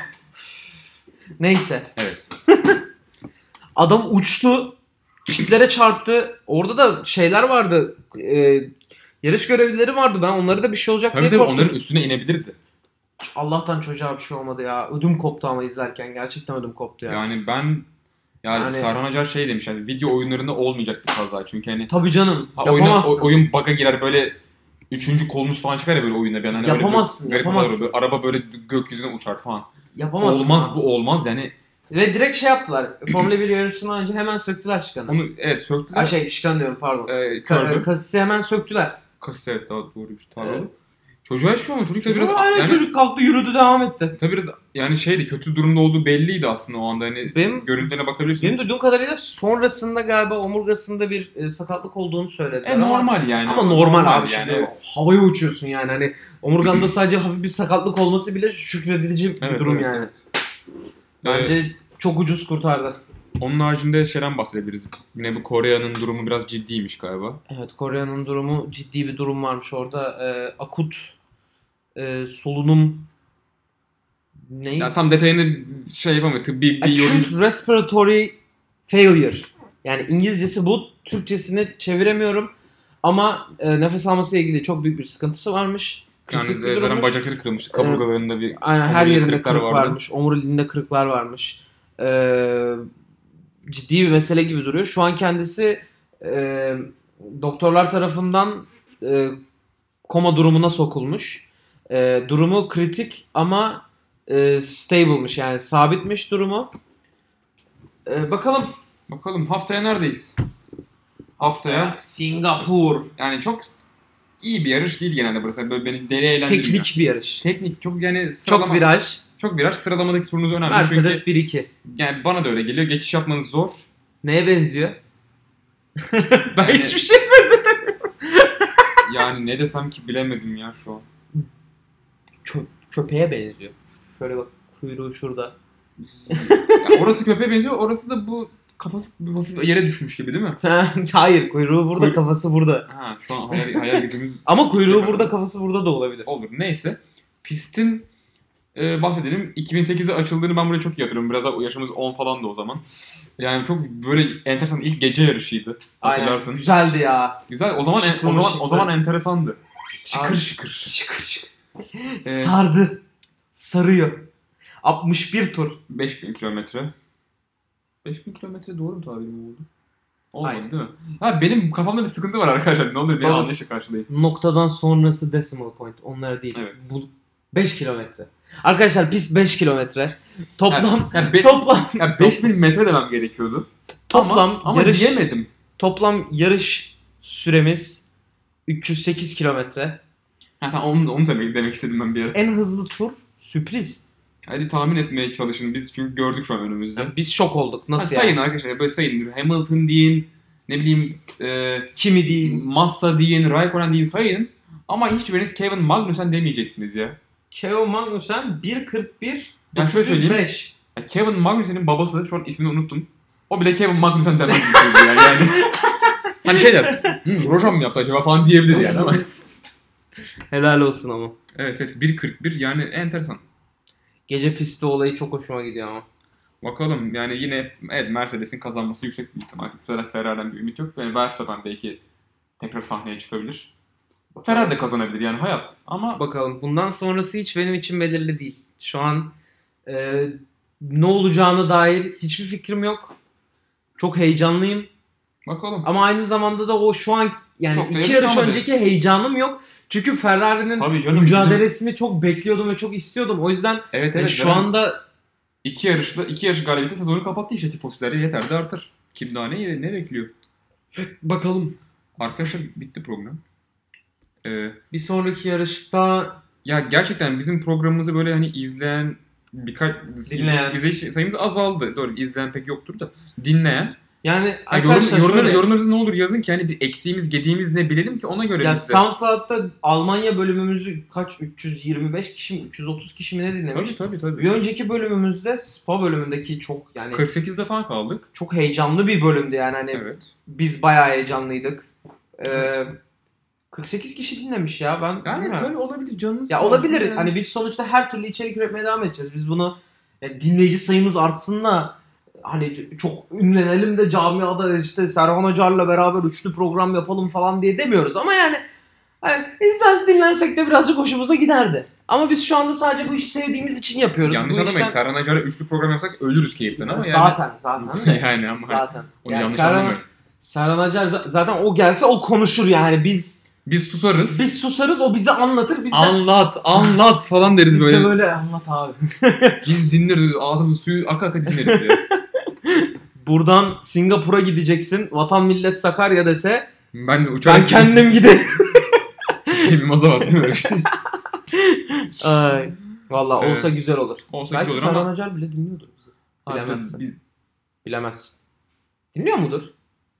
Neyse. evet. Adam uçtu. Çitlere çarptı. Orada da şeyler vardı. e, yarış görevlileri vardı. Ben onlara da bir şey olacak Tabii diye tabii korktum. onların üstüne inebilirdi. Allah'tan çocuğa bir şey olmadı ya. Ödüm koptu ama izlerken. Gerçekten ödüm koptu ya. Yani ben yani, Yani- Serhan Acar şey demiş hani video oyunlarında olmayacak bir kaza çünkü hani Tabii canım. ha, oyuna, yapamazsın. o- oyun bug'a girer böyle üçüncü kolunuz falan çıkar ya böyle oyunda bir an hani öyle Yapamazsın, böyle garip yapamazsın. havalar oluyor. araba böyle gökyüzüne uçar falan. Yapamazsın. Olmaz bu olmaz yani Ve direkt şey yaptılar. Formula 1 yarışından önce hemen söktüler şıkanı. onu evet Ha söktüler. şey şıkan diyorum pardon. Ee, Ka- e, kördü. kasisi hemen söktüler. Kasisi evet daha doğruymuş tabii. Evet. Çocuğa hiçbir şey olmadı. Çocuk da biraz Aynen yani, çocuk kalktı yürüdü devam etti. tabii biraz yani şeydi kötü durumda olduğu belliydi aslında o anda hani Benim- görüntülerine Benim bakabilirsiniz. duyduğum kadarıyla sonrasında galiba omurgasında bir e, sakatlık olduğunu söylediler. e, ama- normal yani. Ama normal, abi yani. şimdi evet. havaya uçuyorsun yani hani omurganda sadece hafif bir sakatlık olması bile şükredici bir Evet, durum evet, yani. Ee, Bence çok ucuz kurtardı. Onun haricinde şeyden bahsedebiliriz. Yine bu Kore'nin durumu biraz ciddiymiş galiba. Evet Kore'nin durumu ciddi bir durum varmış orada. Ee, akut e, solunum ne? Ya tam detayını şey yapamıyor. Tıbbi bir yorum. Acute respiratory failure. Yani İngilizcesi bu, Türkçesini çeviremiyorum. Ama e, nefes almasıyla ilgili çok büyük bir sıkıntısı varmış. Yani Kritik bir zaten durummuş. bacakları kırılmıştı. Kaburgalarında bir... Aynen her Omuriliğe yerinde kırıklar kırık vardı. varmış. Omuriliğinde kırıklar varmış. Ee, ciddi bir mesele gibi duruyor. Şu an kendisi e, doktorlar tarafından e, koma durumuna sokulmuş. E, durumu kritik ama e, stable'mış yani sabitmiş durumu. E, bakalım. Bakalım haftaya neredeyiz? Haftaya. Singapur. Yani çok iyi bir yarış değil genelde burası. Böyle beni deli eğlendiriyor. Teknik bir yarış. Teknik çok yani sıralama. Çok viraj. Çok viraj. Sıralamadaki turunuz önemli. Çünkü Mercedes 1-2. yani bana da öyle geliyor. Geçiş yapmanız zor. Neye benziyor? ben Yani- hiçbir şey Yani ne desem ki bilemedim ya şu an. Kö- köpeğe benziyor. Şöyle bak kuyruğu şurada. Ya orası köpeğe benziyor. Orası da bu kafası bir hafif yere düşmüş gibi değil mi? Hayır kuyruğu burada Kuyruk- kafası burada. Ha şu an hayal, hayal gücümüz Ama kuyruğu Yapamadım. burada kafası burada da olabilir. olur. Neyse. Pistin e, bahsedelim. 2008'e açıldığını ben buraya çok iyi hatırlıyorum. Biraz daha yaşımız 10 falan da o zaman. Yani çok böyle enteresan ilk gece yarışıydı. Hatırlarsın. Aynen, Güzeldi ya. Güzel. O zaman Şıkır o zaman şıkır. o zaman enteresandı. Abi, Şıkır şıkır. Şıkır şıkır. Ee, Sardı. Sarıyor. 61 tur. 5000 kilometre. 5000 kilometre doğru mu tabirim oldu? Olmadı Hayır. değil mi? Ha benim kafamda bir sıkıntı var arkadaşlar. Ne oluyor? Beni Tamam. anlayışla karşılayın. Noktadan sonrası decimal point. Onlar değil. Evet. Bu 5 kilometre. Arkadaşlar pist 5 kilometre. Toplam Ya, be, toplam ya 5000 metre demem gerekiyordu. Toplam ama, ama yarış- diyemedim. toplam yarış süremiz 308 kilometre. Ha, tamam, onu, onu demek, demek istedim ben bir ara. En hızlı tur sürpriz. Hadi tahmin etmeye çalışın. Biz çünkü gördük şu an önümüzde. Yani biz şok olduk. Ha, Nasıl sayın yani? arkadaşlar böyle sayın. Hamilton deyin. Ne bileyim e, Kimi değil? Massa deyin. Raikkonen deyin sayın. Ama hiçbiriniz Kevin Magnussen demeyeceksiniz ya. Keo Magnussen 1.41 Ben şöyle söyleyeyim. 905. Ya Kevin Magnussen'in babası şu an ismini unuttum. O bile Kevin Magnussen demez diyebilir yani. yani. Hani şey der. "Hı, Rojan mı yaptı acaba falan diyebilir yani ama. Helal olsun ama. evet evet 1.41 yani enteresan. Gece pisti olayı çok hoşuma gidiyor ama. Bakalım yani yine evet Mercedes'in kazanması yüksek bir ihtimal. Bu sefer Ferrari'den bir ümit yok. Yani Verstappen belki tekrar sahneye çıkabilir. Ferrari de kazanabilir yani hayat. Ama Bakalım. Bundan sonrası hiç benim için belirli değil. Şu an e, ne olacağına dair hiçbir fikrim yok. Çok heyecanlıyım. bakalım. Ama aynı zamanda da o şu an yani Çok da iki yarış yakışamadı. önceki heyecanım yok. Çünkü Ferrari'nin Tabii canım. mücadelesini çok bekliyordum ve çok istiyordum. O yüzden bizim- Evet e, evet. şu anda iki yarışla iki yarış galibiyetle sezonu kapattı işte tifosileri yeter de artır. Kim daha ne, ne bekliyor? bakalım Arkadaşlar bitti program. Ee, bir sonraki yarışta ya gerçekten bizim programımızı böyle hani izleyen birkaç Dinleyen. izleyici, izleyici sayımız azaldı. Doğru izleyen pek yoktur da dinleyen. yani Ya arkadaşlar yorum, yorumlar, şöyle- yorumlarınızı ne olur yazın ki hani bir eksiğimiz gediğimiz ne bilelim ki ona göre ya biz de- SoundCloud'da Almanya bölümümüzü kaç 325 kişi mi 330 kişi mi ne dinlemiş? Tabii tabii tabii. Bir önceki bölümümüzde Spa bölümündeki çok yani 48'de falan kaldık. çok heyecanlı bir bölümdü yani hani Evet. biz bayağı heyecanlıydık. Ee, Evet. 48 kişi dinlemiş ya ben. Yani bilmiyorum. tabii olabilir canınız. Ya sağ olabilir. olsun. Hani biz sonuçta her türlü içerik üretmeye devam edeceğiz. Biz bunu yani dinleyici sayımız artsın da hani çok ünlenelim de camiada işte Serhan Hocar'la beraber üçlü program yapalım falan diye demiyoruz. Ama yani hani izler dinlensek de birazcık hoşumuza giderdi. Ama biz şu anda sadece bu işi sevdiğimiz için yapıyoruz. yanlış bu anlamayın. işten- Serhan Acar'a üçlü program yapsak ölürüz keyiften ama yani. Zaten zaten. Zaten. yani ama hani zaten. onu Yani yanlış Serhan- anlamayın. Serhan Acar za- zaten o gelse o konuşur yani. Biz Biz susarız. biz susarız o bize anlatır. Biz de, Anlat, anlat falan deriz biz de böyle. böyle anlat abi. Biz dinleriz. Ağzımızın suyu aka aka dinleriz ya. Buradan Singapur'a gideceksin. Vatan millet Sakarya dese Ben uçağa ben kendim giderim. Jamie Maza var değil mi? öyle şey? Ay. Valla Evet. olsa güzel olur. Olsa Belki güzel olur Serhan ama. Acar bile dinliyordur bizi. Harbiden Bilemezsin. bir- Bilemezsin. Dinliyor mudur?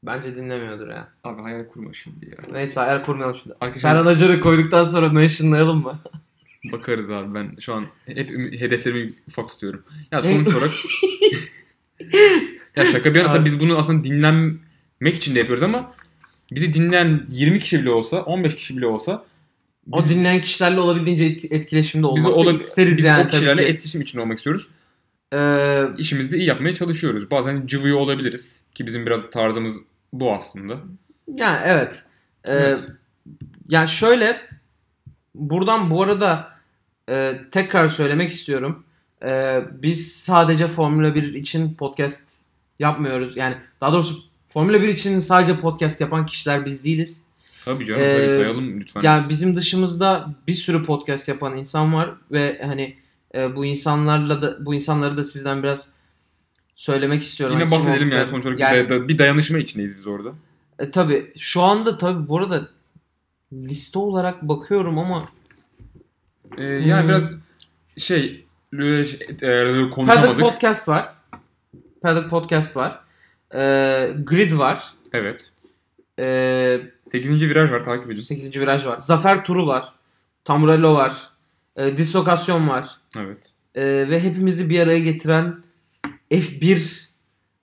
Bence dinlemiyordur ya. Abi hayal kurma şimdi ya. Neyse hayal kurmayalım şimdi. Arkadaşlar- Serhan Acar'ı koyduktan sonra mentionlayalım mı? Bakarız abi ben şu an hep ümit- hedeflerimi ufak tutuyorum. Ya Ne? sonuç olarak... ya şaka bir yana tabii Abi. biz bunu aslında dinlenmek için de yapıyoruz ama bizi dinleyen 20 kişi bile olsa, 15 kişi bile olsa O dinleyen kişilerle olabildiğince etki- etkileşimde bizi olmak ola, isteriz biz yani o tabii kişilerle ki. etkileşim için olmak istiyoruz. Ee, İşimizi de iyi yapmaya çalışıyoruz. Bazen cıvıyor olabiliriz ki bizim biraz tarzımız bu aslında. Yani evet. Ee, Evet. Yani şöyle buradan bu arada e, tekrar söylemek istiyorum. Ee, biz sadece Formula 1 için podcast yapmıyoruz. Yani daha doğrusu Formula 1 için sadece podcast yapan kişiler biz değiliz. Tabii canım Ee, tabii sayalım lütfen. Yani bizim dışımızda bir sürü podcast yapan insan var ve hani e, bu insanlarla da bu insanları da sizden biraz söylemek istiyorum. Yine Hani kim bahsedelim yani oldukları- sonuç olarak bir Yani- day- da- bir dayanışma içindeyiz biz orada. E, tabii şu anda tabii bu arada liste olarak bakıyorum ama Ee, yani Hmm. biraz şey e, şey, e, Paddock konuşamadık. Podcast var. Paddock Podcast var. E, Grid var. Evet. E, 8. viraj var takip ediyorsun. 8. viraj var. Zafer Turu var. Tamburello var. E, Dislokasyon var. Evet. E, ve hepimizi bir araya getiren F1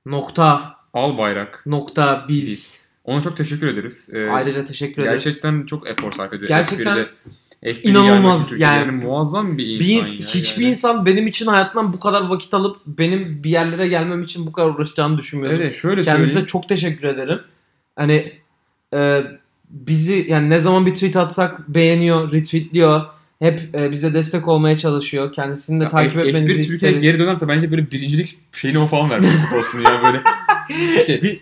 nokta Al bayrak. nokta biz. E, Biz. Ona çok teşekkür ederiz. Ee, Ayrıca teşekkür ederiz. gerçekten çok efor sarf ediyor. Gerçekten F1'de F1 inanılmaz yaymak için Türkiye'de. yani. yani muazzam bir insan. bir ins- ya, hiçbir yani. insan benim için hayatından bu kadar vakit alıp benim bir yerlere gelmem için bu kadar uğraşacağını düşünmüyordum. Evet şöyle Kendisine söyleyeyim. çok teşekkür ederim. Hani e, bizi yani ne zaman bir tweet atsak beğeniyor, retweetliyor. Hep e, bize destek olmaya çalışıyor. Kendisini de Ya takip F- F1 etmenizi Türkiye'ye isteriz. geri dönerse bence böyle birincilik şeyini o falan vermiş kupasını ya böyle. İşte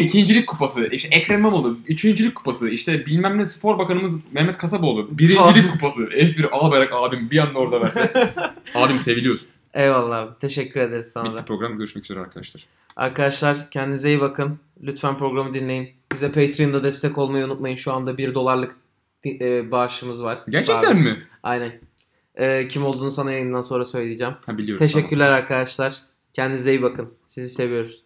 ikincilik kupası, işte Ekrem İmamoğlu, üçüncülük kupası, işte bilmem ne spor bakanımız Mehmet Kasaboğlu, birincilik kupası. F1 Albayrak abim bir anda orada verse. abim seviliyorsun. Eyvallah abi. Teşekkür ederiz sana da. Bitti program görüşmek üzere arkadaşlar. Arkadaşlar kendinize iyi bakın. Lütfen programı dinleyin. Bize Patreon'da destek olmayı unutmayın. Şu anda 1 dolarlık di- e, bağışımız var. Sağ Gerçekten olun. mi? Aynen. E, kim olduğunu sana yayından sonra söyleyeceğim. Ha biliyorum. Teşekkürler arkadaşlar. Kendinize iyi bakın. Sizi seviyoruz.